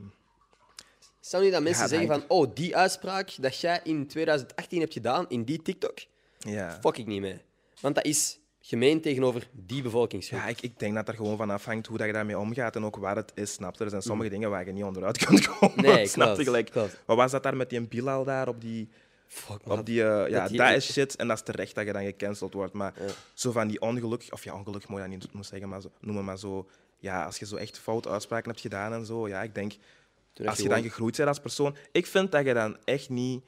Speaker 1: Stel nu dat mensen
Speaker 2: Ja, dat
Speaker 1: zeggen van...
Speaker 2: hangt-
Speaker 1: Oh, die uitspraak dat jij in 2018 hebt gedaan in die TikTok...
Speaker 2: ja.
Speaker 1: Fuck ik niet mee. Want dat is gemeen tegenover die bevolkingsgroep.
Speaker 2: Ja, ik, ik denk dat er gewoon van afhangt hoe dat je daarmee omgaat en ook waar het is, snap je? Er zijn sommige dingen waar je niet onderuit kunt komen,
Speaker 1: Mm. Nee,
Speaker 2: snap je?
Speaker 1: klopt,
Speaker 2: Gelijk,
Speaker 1: klopt.
Speaker 2: wat was dat daar met die Bilal daar op die...
Speaker 1: Fuck, man.
Speaker 2: Op die eh, ja,
Speaker 1: die-
Speaker 2: dat, is shit en dat is terecht dat je dan gecanceld wordt. Maar zo van die ongeluk, of ja, ongeluk moet je dat niet moet zeggen, maar zo, noemen maar zo... Ja, als je zo echt fout uitspraken hebt gedaan en zo, ja, ik denk...
Speaker 1: Toen
Speaker 2: Als
Speaker 1: heb
Speaker 2: je dan gegroeid bent als persoon... Ik vind dat je dan echt niet...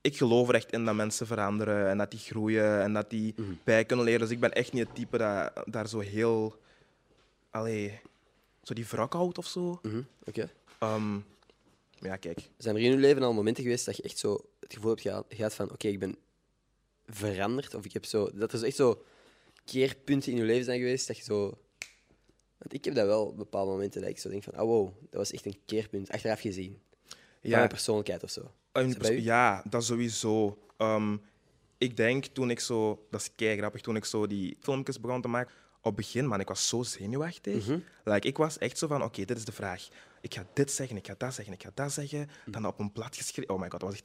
Speaker 2: Ik geloof er echt in dat mensen veranderen en dat die groeien en dat die bij kunnen leren. Dus ik ben echt niet het type dat daar zo heel... Allee... Zo die wrak houdt of zo.
Speaker 1: gewoon- Mhm, Oké.
Speaker 2: Ehm, maar ja, kijk.
Speaker 1: Zijn er in je leven al momenten geweest dat je echt zo het gevoel hebt geha- gehad van... Oké, ik ben veranderd. Of ik heb zo... Dat er zo echt zo keerpunten in je leven zijn geweest dat je zo... Want ik heb dat wel op bepaalde momenten dat ik zo denk van... Oh, wow, dat was echt een keerpunt. Achteraf gezien. Van mijn
Speaker 2: Ja,
Speaker 1: persoonlijkheid of zo.
Speaker 2: Een
Speaker 1: Is dat
Speaker 2: pers-
Speaker 1: bij u?
Speaker 2: Ah, ja, dat sowieso. Ehm, ik denk toen ik zo, dat is kei grappig, toen ik zo die filmpjes begon te maken. Op het begin, man, ik was zo zenuwachtig.
Speaker 1: Mhm.
Speaker 2: like, ik was echt zo van: oké, dit is de vraag. Ik ga dit zeggen, ik ga dat zeggen, ik ga dat zeggen.
Speaker 1: Mhm.
Speaker 2: Dan op een blad geschreven. Oh my god, dat was echt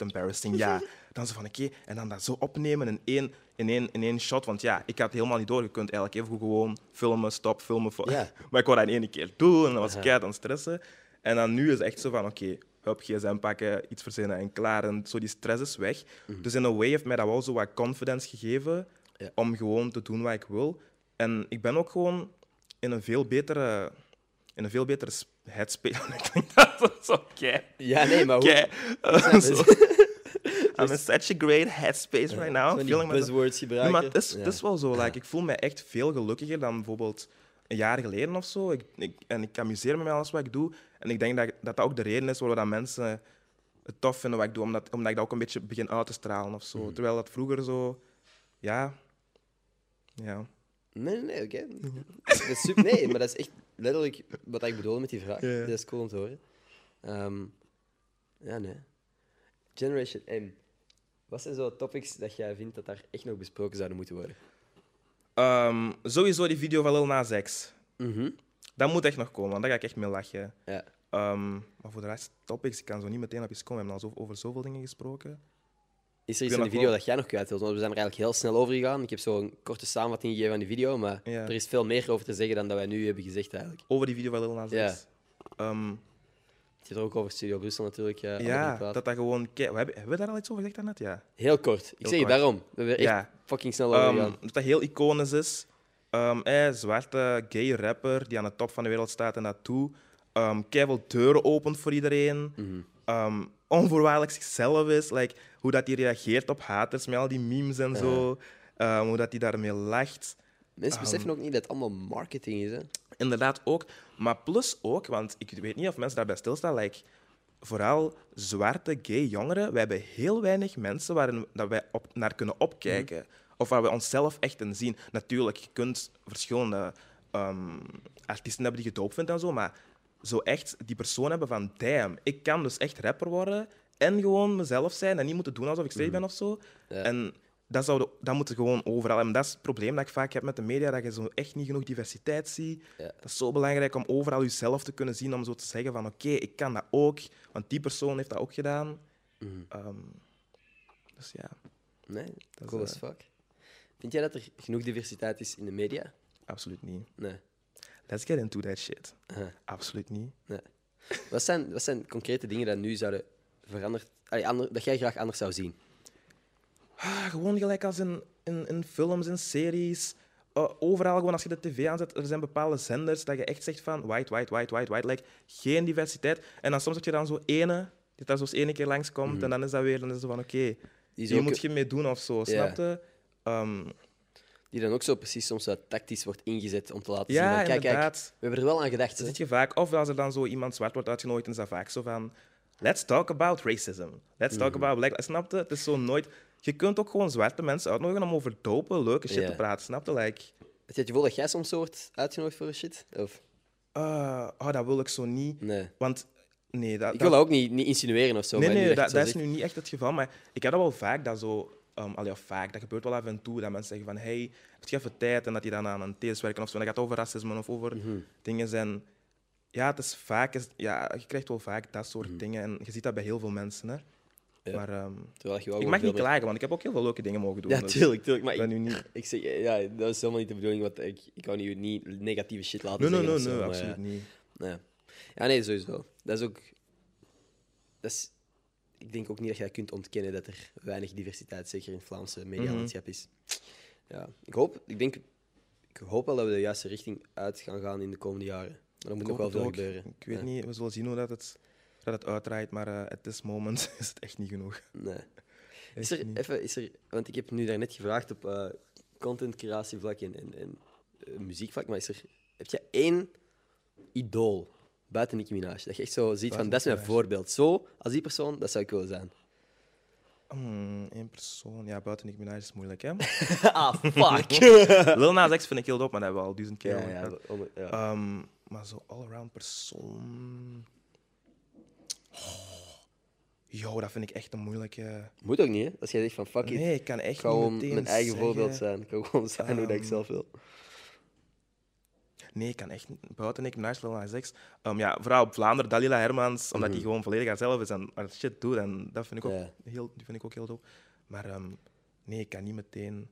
Speaker 2: embarrassing. Ja. Dan zo van: oké, en dan dat zo opnemen in één, in, één, in één shot. Want ja, ik had helemaal niet door. Je kunt eigenlijk even goed gewoon filmen, stop, filmen. fo-
Speaker 1: Ja.
Speaker 2: maar ik wou dat in één keer doen. En dan was ik keihard aan het stressen. En dan nu is het echt zo van: oké, hup, gsm pakken, iets verzinnen en klaar. En zo die stress is weg. Dus in een way heeft mij dat wel zo wat confidence gegeven
Speaker 1: Mhm. Ja.
Speaker 2: om gewoon te doen wat ik wil. En ik ben ook gewoon in een veel betere... In een veel betere sp- headspace. Ik denk dat dat zo kei...
Speaker 1: Ja, nee, maar hoe?
Speaker 2: kei- zo. I'm in such a great headspace right
Speaker 1: Zo
Speaker 2: now. I'm
Speaker 1: die
Speaker 2: feeling myself.
Speaker 1: buzzwords
Speaker 2: Nee,
Speaker 1: gebruiken.
Speaker 2: maar het is, het
Speaker 1: Ja.
Speaker 2: is wel zo. Like, ik voel me echt veel gelukkiger dan bijvoorbeeld een jaar geleden of zo. Ik, ik, en ik amuseer me met alles wat ik doe. En ik denk dat dat, dat ook de reden is waarom dat mensen het tof vinden wat ik doe. Omdat, omdat ik dat ook een beetje begin uit te stralen of zo. Terwijl dat vroeger zo... Ja... Ja.
Speaker 1: Nee, nee, nee, oké. Dat is super- Nee, maar dat is echt letterlijk wat ik bedoel met die vraag.
Speaker 2: Ja, ja.
Speaker 1: Dat is cool om te horen. Ehm, ja, nee. Generation M. Wat zijn zo topics dat jij vindt dat daar echt nog besproken zouden moeten worden?
Speaker 2: Ehm, sowieso die video van Lil Nas X.
Speaker 1: Mhm.
Speaker 2: Dat moet echt nog komen, want daar ga ik echt mee lachen.
Speaker 1: Ja.
Speaker 2: Ehm, maar voor de rest, topics, ik kan zo niet meteen op iets komen. We hebben al zo, over zoveel dingen gesproken.
Speaker 1: Is er iets
Speaker 2: nog
Speaker 1: in die video
Speaker 2: wel-
Speaker 1: dat jij nog kwijt wilt? Want we zijn er eigenlijk heel snel over gegaan. Ik heb zo een korte samenvatting gegeven aan die video, maar
Speaker 2: Ja.
Speaker 1: er is veel meer over te zeggen dan dat wij nu hebben gezegd eigenlijk.
Speaker 2: Over die video van Lil Nas X.
Speaker 1: Ja.
Speaker 2: Ehm,
Speaker 1: Het gaat ook over Studio Brussel natuurlijk. eh, allemaal
Speaker 2: Ja,
Speaker 1: gepraat.
Speaker 2: dat dat gewoon... kei- we hebben, hebben we daar al iets over gezegd daarnet? Ja.
Speaker 1: Heel kort. Ik
Speaker 2: Heel
Speaker 1: zeg je
Speaker 2: kort.
Speaker 1: daarom. We hebben echt
Speaker 2: Ja.
Speaker 1: fucking snel over
Speaker 2: Ehm,
Speaker 1: gegaan.
Speaker 2: dat dat heel iconisch is. Ehm, eh, zwarte, gay rapper die aan de top van de wereld staat en dat toe. Ehm keiveel deuren opent voor iedereen. Ehm, onvoorwaardelijk zichzelf is. Like, hoe dat hij reageert op haters met al die memes en zo. Ehm, hoe dat hij daarmee lacht. ehm.
Speaker 1: Mensen beseffen ook niet dat het allemaal marketing is. Hè?
Speaker 2: Inderdaad ook. Maar plus ook, want ik weet niet of mensen daarbij stilstaan, like, vooral zwarte, gay jongeren, wij hebben heel weinig mensen waarin dat wij op, naar kunnen opkijken. Of waar we onszelf echt in zien. Natuurlijk, je kunt verschillende ehm, artiesten hebben die je doop vindt en zo, maar zo echt die persoon hebben van, damn, ik kan dus echt rapper worden en gewoon mezelf zijn en niet moeten doen alsof ik straight ben of zo. En dat, zouden, dat moet gewoon overal hebben. Dat is het probleem dat ik vaak heb met de media, dat je zo echt niet genoeg diversiteit ziet.
Speaker 1: Ja.
Speaker 2: Dat is zo belangrijk om overal jezelf te kunnen zien, om zo te zeggen van oké, ik kan dat ook, want die persoon heeft dat ook gedaan. Ehm, dus ja,
Speaker 1: Nee,
Speaker 2: is,
Speaker 1: cool as
Speaker 2: eh,
Speaker 1: fuck. Vind jij dat er genoeg diversiteit is in de media?
Speaker 2: absoluut niet.
Speaker 1: Nee.
Speaker 2: Let's get into that shit.
Speaker 1: Aha.
Speaker 2: Absoluut niet.
Speaker 1: nee. Wat, zijn, wat zijn concrete dingen die nu zouden veranderd, allee, ander- dat jij graag anders zou zien?
Speaker 2: Ah, gewoon gelijk als in, in, in films, in series. eh, overal, gewoon als je de tv aanzet, er zijn bepaalde zenders dat je echt zegt van white, white, white, white, white. Like, geen diversiteit. En dan soms heb je dan zo ene, die daar zo eens ene keer langskomt. En dan is dat weer, dan is het van oké,
Speaker 1: Mhm. is
Speaker 2: hier
Speaker 1: ook-
Speaker 2: moet je mee doen of zo, snap je? Ehm,
Speaker 1: Die dan ook zo precies soms wat tactisch wordt ingezet om te laten
Speaker 2: Ja,
Speaker 1: zien. van, Kijk, kijk,
Speaker 2: inderdaad.
Speaker 1: we hebben er wel aan gedacht.
Speaker 2: Dat
Speaker 1: hè.
Speaker 2: zit je vaak. Of als er dan zo iemand zwart wordt uitgenodigd, dan is dat vaak zo van... Let's talk about racism. Let's talk
Speaker 1: Mhm.
Speaker 2: about black... Snap je? Het is zo nooit... Je kunt ook gewoon zwarte mensen uitnodigen om over dope, leuke shit
Speaker 1: Ja.
Speaker 2: te praten. Snap je? Like,
Speaker 1: Heb je het gevoel dat jij soms zo wordt uitgenodigd voor shit? Of?
Speaker 2: ah, oh, dat wil ik zo niet.
Speaker 1: Nee.
Speaker 2: Want... Nee, dat...
Speaker 1: Ik
Speaker 2: dat-
Speaker 1: wil dat ook niet, niet insinueren of zo.
Speaker 2: Nee,
Speaker 1: Oh, maar
Speaker 2: nee,
Speaker 1: niet
Speaker 2: dat,
Speaker 1: echt zo
Speaker 2: dat is
Speaker 1: zeg.
Speaker 2: nu niet echt het geval. Maar ik heb dat wel vaak, dat zo... ehm allee, of vaak, dat gebeurt wel af en toe, dat mensen zeggen van... Hey, heb je even tijd? En dat die dan aan een thesis werken of zo. En dat gaat over racisme of over
Speaker 1: Mhm.
Speaker 2: dingen zijn... Ja, het is vaak... Is, ja, je krijgt wel vaak dat soort
Speaker 1: Mhm.
Speaker 2: dingen. En je ziet dat bij heel veel mensen, hè. Maar ehm,
Speaker 1: Terwijl je Oh, wel
Speaker 2: ik
Speaker 1: gewoon
Speaker 2: mag
Speaker 1: veel
Speaker 2: niet
Speaker 1: meer-
Speaker 2: klagen, want ik heb ook heel veel leuke dingen mogen doen.
Speaker 1: Ja,
Speaker 2: dus
Speaker 1: tuurlijk, tuurlijk. Maar
Speaker 2: ik ben
Speaker 1: ik,
Speaker 2: nu niet...
Speaker 1: ik zeg, ja, dat is helemaal niet de bedoeling, want ik, ik wou niet, niet negatieve shit laten
Speaker 2: Nee, nee,
Speaker 1: zeggen.
Speaker 2: nee,
Speaker 1: of zo,
Speaker 2: nee,
Speaker 1: maar
Speaker 2: absoluut
Speaker 1: ja.
Speaker 2: niet.
Speaker 1: Nee. Ja, nee, sowieso. Dat is ook. Dat is, ik denk ook niet dat je dat kunt ontkennen dat er weinig diversiteit, zeker in het Vlaamse
Speaker 2: Mhm.
Speaker 1: medialandschap, is. Ja, ik hoop, ik denk, ik hoop wel dat we de juiste richting uit gaan gaan in de komende jaren. Maar er moet nog
Speaker 2: Ik hoop
Speaker 1: wel
Speaker 2: het
Speaker 1: veel
Speaker 2: ook.
Speaker 1: gebeuren.
Speaker 2: Ik weet
Speaker 1: Ja.
Speaker 2: niet, we zullen zien hoe dat het, dat het uitdraait, maar eh, at this moment is het echt niet genoeg.
Speaker 1: Nee. Is
Speaker 2: Echt
Speaker 1: er,
Speaker 2: niet.
Speaker 1: even, is er, want ik heb nu daarnet gevraagd op eh content creatievlak en, en, en eh, muziekvlak, maar is er, heb je één idool buiten Nicki Minaj? Dat je echt zo ziet van, dat is mijn voorbeeld. Zo, als die persoon, dat zou ik willen zijn.
Speaker 2: Hmm, één persoon. Ja, buiten Nicki Minaj is moeilijk, hè?
Speaker 1: ah, fuck!
Speaker 2: Lil Nas X vind ik heel dope, maar dat hebben we al duizend keer
Speaker 1: ja,
Speaker 2: over
Speaker 1: ja,
Speaker 2: gehad.
Speaker 1: om- ja.
Speaker 2: Ehm, maar zo all-around persoon... Oh. Yo, dat vind ik echt een moeilijke...
Speaker 1: Moet ook niet, hè? Als jij zegt van, fuck it,
Speaker 2: Nee, ik kan echt
Speaker 1: ik ga
Speaker 2: niet
Speaker 1: gewoon
Speaker 2: meteen
Speaker 1: mijn eigen
Speaker 2: zeggen.
Speaker 1: voorbeeld zijn. Ik kan gewoon zijn hoe dat ik
Speaker 2: Ehm,
Speaker 1: zelf wil.
Speaker 2: Nee, ik kan echt niet. Buiten Nicki Minaj, Lil Nas X. Ehm, ja, vooral op Vlaanderen, Dalila Hermans, omdat die gewoon volledig haarzelf is en haar shit doet. En dat vind ik ook,
Speaker 1: Mhm. Ja.
Speaker 2: heel, die vind ik ook heel dope. Maar ehm, nee, ik kan niet meteen...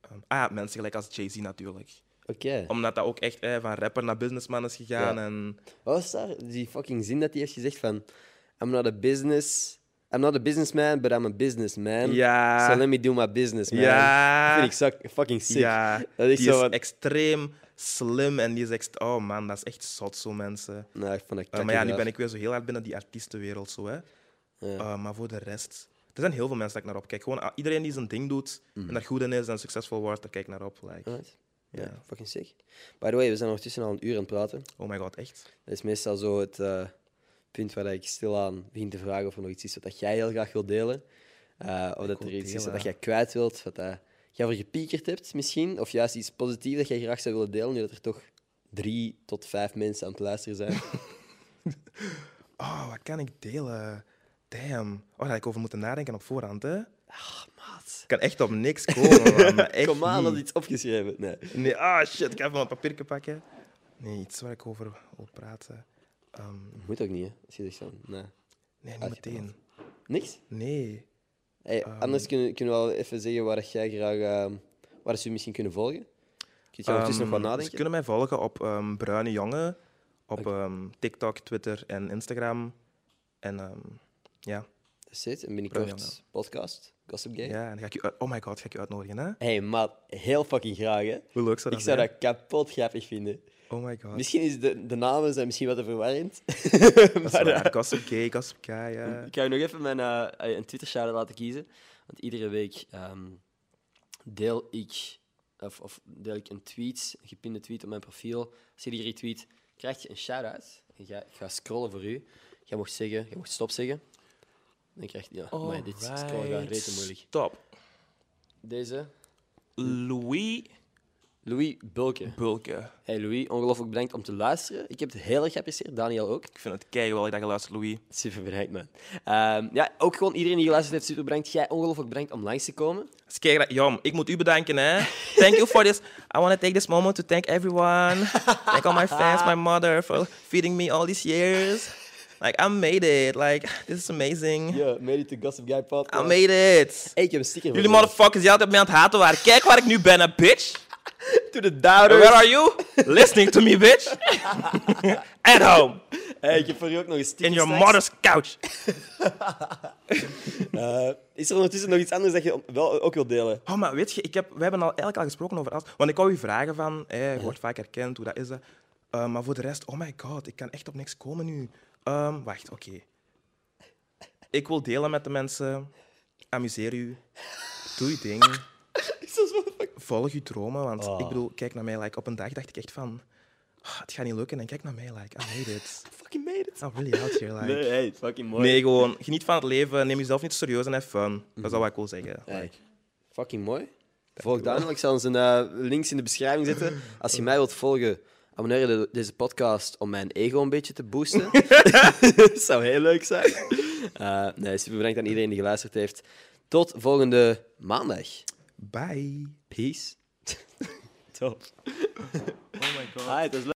Speaker 2: ehm, ah, mensen gelijk als Jay-Z natuurlijk.
Speaker 1: Oké.
Speaker 2: Omdat dat ook echt eh, van rapper naar businessman is gegaan.
Speaker 1: Ja.
Speaker 2: En
Speaker 1: Wat was daar die fucking zin dat hij heeft gezegd van... I'm not a business. I'm not a businessman, but I'm a businessman.
Speaker 2: Ja.
Speaker 1: So let me do my business, man.
Speaker 2: Ah. Ja.
Speaker 1: Dat vind ik zo- fucking sick.
Speaker 2: Ja,
Speaker 1: Dat is
Speaker 2: die
Speaker 1: zo
Speaker 2: is
Speaker 1: wat-
Speaker 2: extreem slim en die is echt... Oh man, dat is echt zot, zo mensen.
Speaker 1: Nou, ik vond dat
Speaker 2: Eh, maar ja, nu ben ik weer zo heel hard binnen die artiestenwereld. Zo, hè. Eh, maar voor de rest... Er zijn heel veel mensen dat ik naar opkijk. Gewoon ah, iedereen die zijn ding doet en daar goed in is en succesvol wordt, daar kijk ik naar op. Like,
Speaker 1: Right. Mhm. Ja,
Speaker 2: Ja.
Speaker 1: fucking sick. By the way, we zijn ondertussen al een uur aan het praten.
Speaker 2: Oh my god, echt?
Speaker 1: Dat is meestal zo het eh, punt waar ik stilaan begin te vragen of er nog iets is wat dat jij heel graag wilt delen. Eh, of dat
Speaker 2: wil
Speaker 1: er iets is
Speaker 2: delen.
Speaker 1: wat dat jij kwijt wilt, wat dat jij voor gepiekerd hebt misschien. Of juist iets positiefs dat jij graag zou willen delen, nu dat er toch drie tot vijf mensen aan het luisteren zijn.
Speaker 2: Oh, wat kan ik delen? Damn. Oh, daar had ik over moeten nadenken op voorhand, hè?
Speaker 1: Maat.
Speaker 2: Ik kan echt op niks komen, man, maar Ah, echt
Speaker 1: Kom aan,
Speaker 2: niet.
Speaker 1: had iets opgeschreven. Nee.
Speaker 2: Nee, ah shit, ik ga even mijn papiertje pakken. Nee, iets waar ik over wil praten. Ehm,
Speaker 1: Moet ook niet, hè? Als je zegt van, nee.
Speaker 2: nee, niet
Speaker 1: Uitgepraat.
Speaker 2: meteen.
Speaker 1: Niks?
Speaker 2: Nee.
Speaker 1: Hey,
Speaker 2: Ehm.
Speaker 1: anders kunnen, kunnen we wel even zeggen waar dat jij graag... ehm, waar ze je misschien kunnen volgen. Ik ga ondertussen
Speaker 2: Ehm,
Speaker 1: nog wat
Speaker 2: Ze
Speaker 1: nadenken.
Speaker 2: kunnen mij volgen op ehm, Bruine Jongen, op ehm, TikTok, Twitter en Instagram. En ehm, ja.
Speaker 1: Dat is het. En
Speaker 2: Bruin,
Speaker 1: binnenkort podcast. Gossip Game.
Speaker 2: ja, en dan ga ik je uit- Oh my god, ga ik je uitnodigen, hè?
Speaker 1: Hey, maat, heel fucking graag, hè?
Speaker 2: Hoe leuk zou
Speaker 1: Ik zou
Speaker 2: dat zijn?
Speaker 1: dat kapot grappig vinden.
Speaker 2: Oh my god.
Speaker 1: Misschien is de, de namen zijn misschien wat te verwarrend.
Speaker 2: Dat
Speaker 1: maar,
Speaker 2: is
Speaker 1: eh,
Speaker 2: waar. Gossip Gay, Gossip Guy, ja.
Speaker 1: ik ga je nog even mijn eh, een Twitter-shout laten kiezen. Want iedere week ehm, deel, ik, of, of deel ik een tweet, een gepinde tweet op mijn profiel. Als je die retweet, krijg je een shout-out. En ga, ik ga scrollen voor u. Jij mocht zeggen, jij mocht stop zeggen. Dan krijg je... Ja, maar dit scrollen gaat rete moeilijk.
Speaker 2: Stop.
Speaker 1: Deze...
Speaker 2: Louis
Speaker 1: Louis Bulke.
Speaker 2: Bulke.
Speaker 1: Hey Louis, ongelooflijk bedankt om te luisteren. Ik heb het heel erg geapprecieerd, Daniel ook.
Speaker 2: Ik vind het keihard dat je luistert, Louis.
Speaker 1: Super bedankt, man. Ehm, ja, ook gewoon iedereen die geluisterd heeft, super bedankt. Jij ongelooflijk bedankt om langs te komen.
Speaker 2: Dus kijk, dat- Jom, ik moet u bedanken, hè. Thank you for this. I want to take this moment to thank everyone. Thank all my fans, my mother, for feeding me all these years. Like, I made it. Like, this is amazing.
Speaker 1: Ja, made it to Gossip Guy podcast.
Speaker 2: I made it.
Speaker 1: Hey, ik heb een sticker
Speaker 2: Jullie
Speaker 1: voor je.
Speaker 2: motherfuckers die altijd mij aan het haten waren. Kijk waar ik nu ben, hè, bitch.
Speaker 1: To the doubters.
Speaker 2: Where are you? Listening to me, bitch. At home.
Speaker 1: Hey, ik heb voor je ook nog een sticker
Speaker 2: In your
Speaker 1: straks.
Speaker 2: mother's couch.
Speaker 1: Eh, Is er ondertussen nog iets anders dat je wel ook wilt delen?
Speaker 2: Oh, maar weet je, ik heb, we hebben al, eigenlijk al gesproken over alles. Want ik wou u vragen van, eh, je wordt vaak herkend, hoe dat is dat. Eh, maar voor de rest, oh my god, ik kan echt op niks komen nu. Ehm, wacht, oké. Ik wil delen met de mensen. Amuseer u. Doe je ding. Volg je dromen, want
Speaker 1: Oh.
Speaker 2: ik bedoel, kijk naar mij. Like, op een dag dacht ik echt van, "Ah, het gaat niet lukken. En kijk naar mij, like, I made it.
Speaker 1: Fucking made it.
Speaker 2: I'm really out here, like.
Speaker 1: Nee, hey, fucking mooi.
Speaker 2: Nee, gewoon, geniet van het leven. Neem jezelf niet serieus en have fun. Dat
Speaker 1: Mhm.
Speaker 2: is al wat ik wil zeggen.
Speaker 1: Hey, Eh, fucking mooi. Volg Daniel. Ik zal zijn eh, links in de beschrijving zetten. Als je mij wilt volgen, abonneer je de- deze podcast om mijn ego een beetje te boosten. Dat zou heel leuk zijn. Eh, nee, super bedankt aan iedereen die geluisterd heeft. Tot volgende maandag.
Speaker 2: Bye.
Speaker 1: Peace. Top. Oh my god. Hi, het was leuk.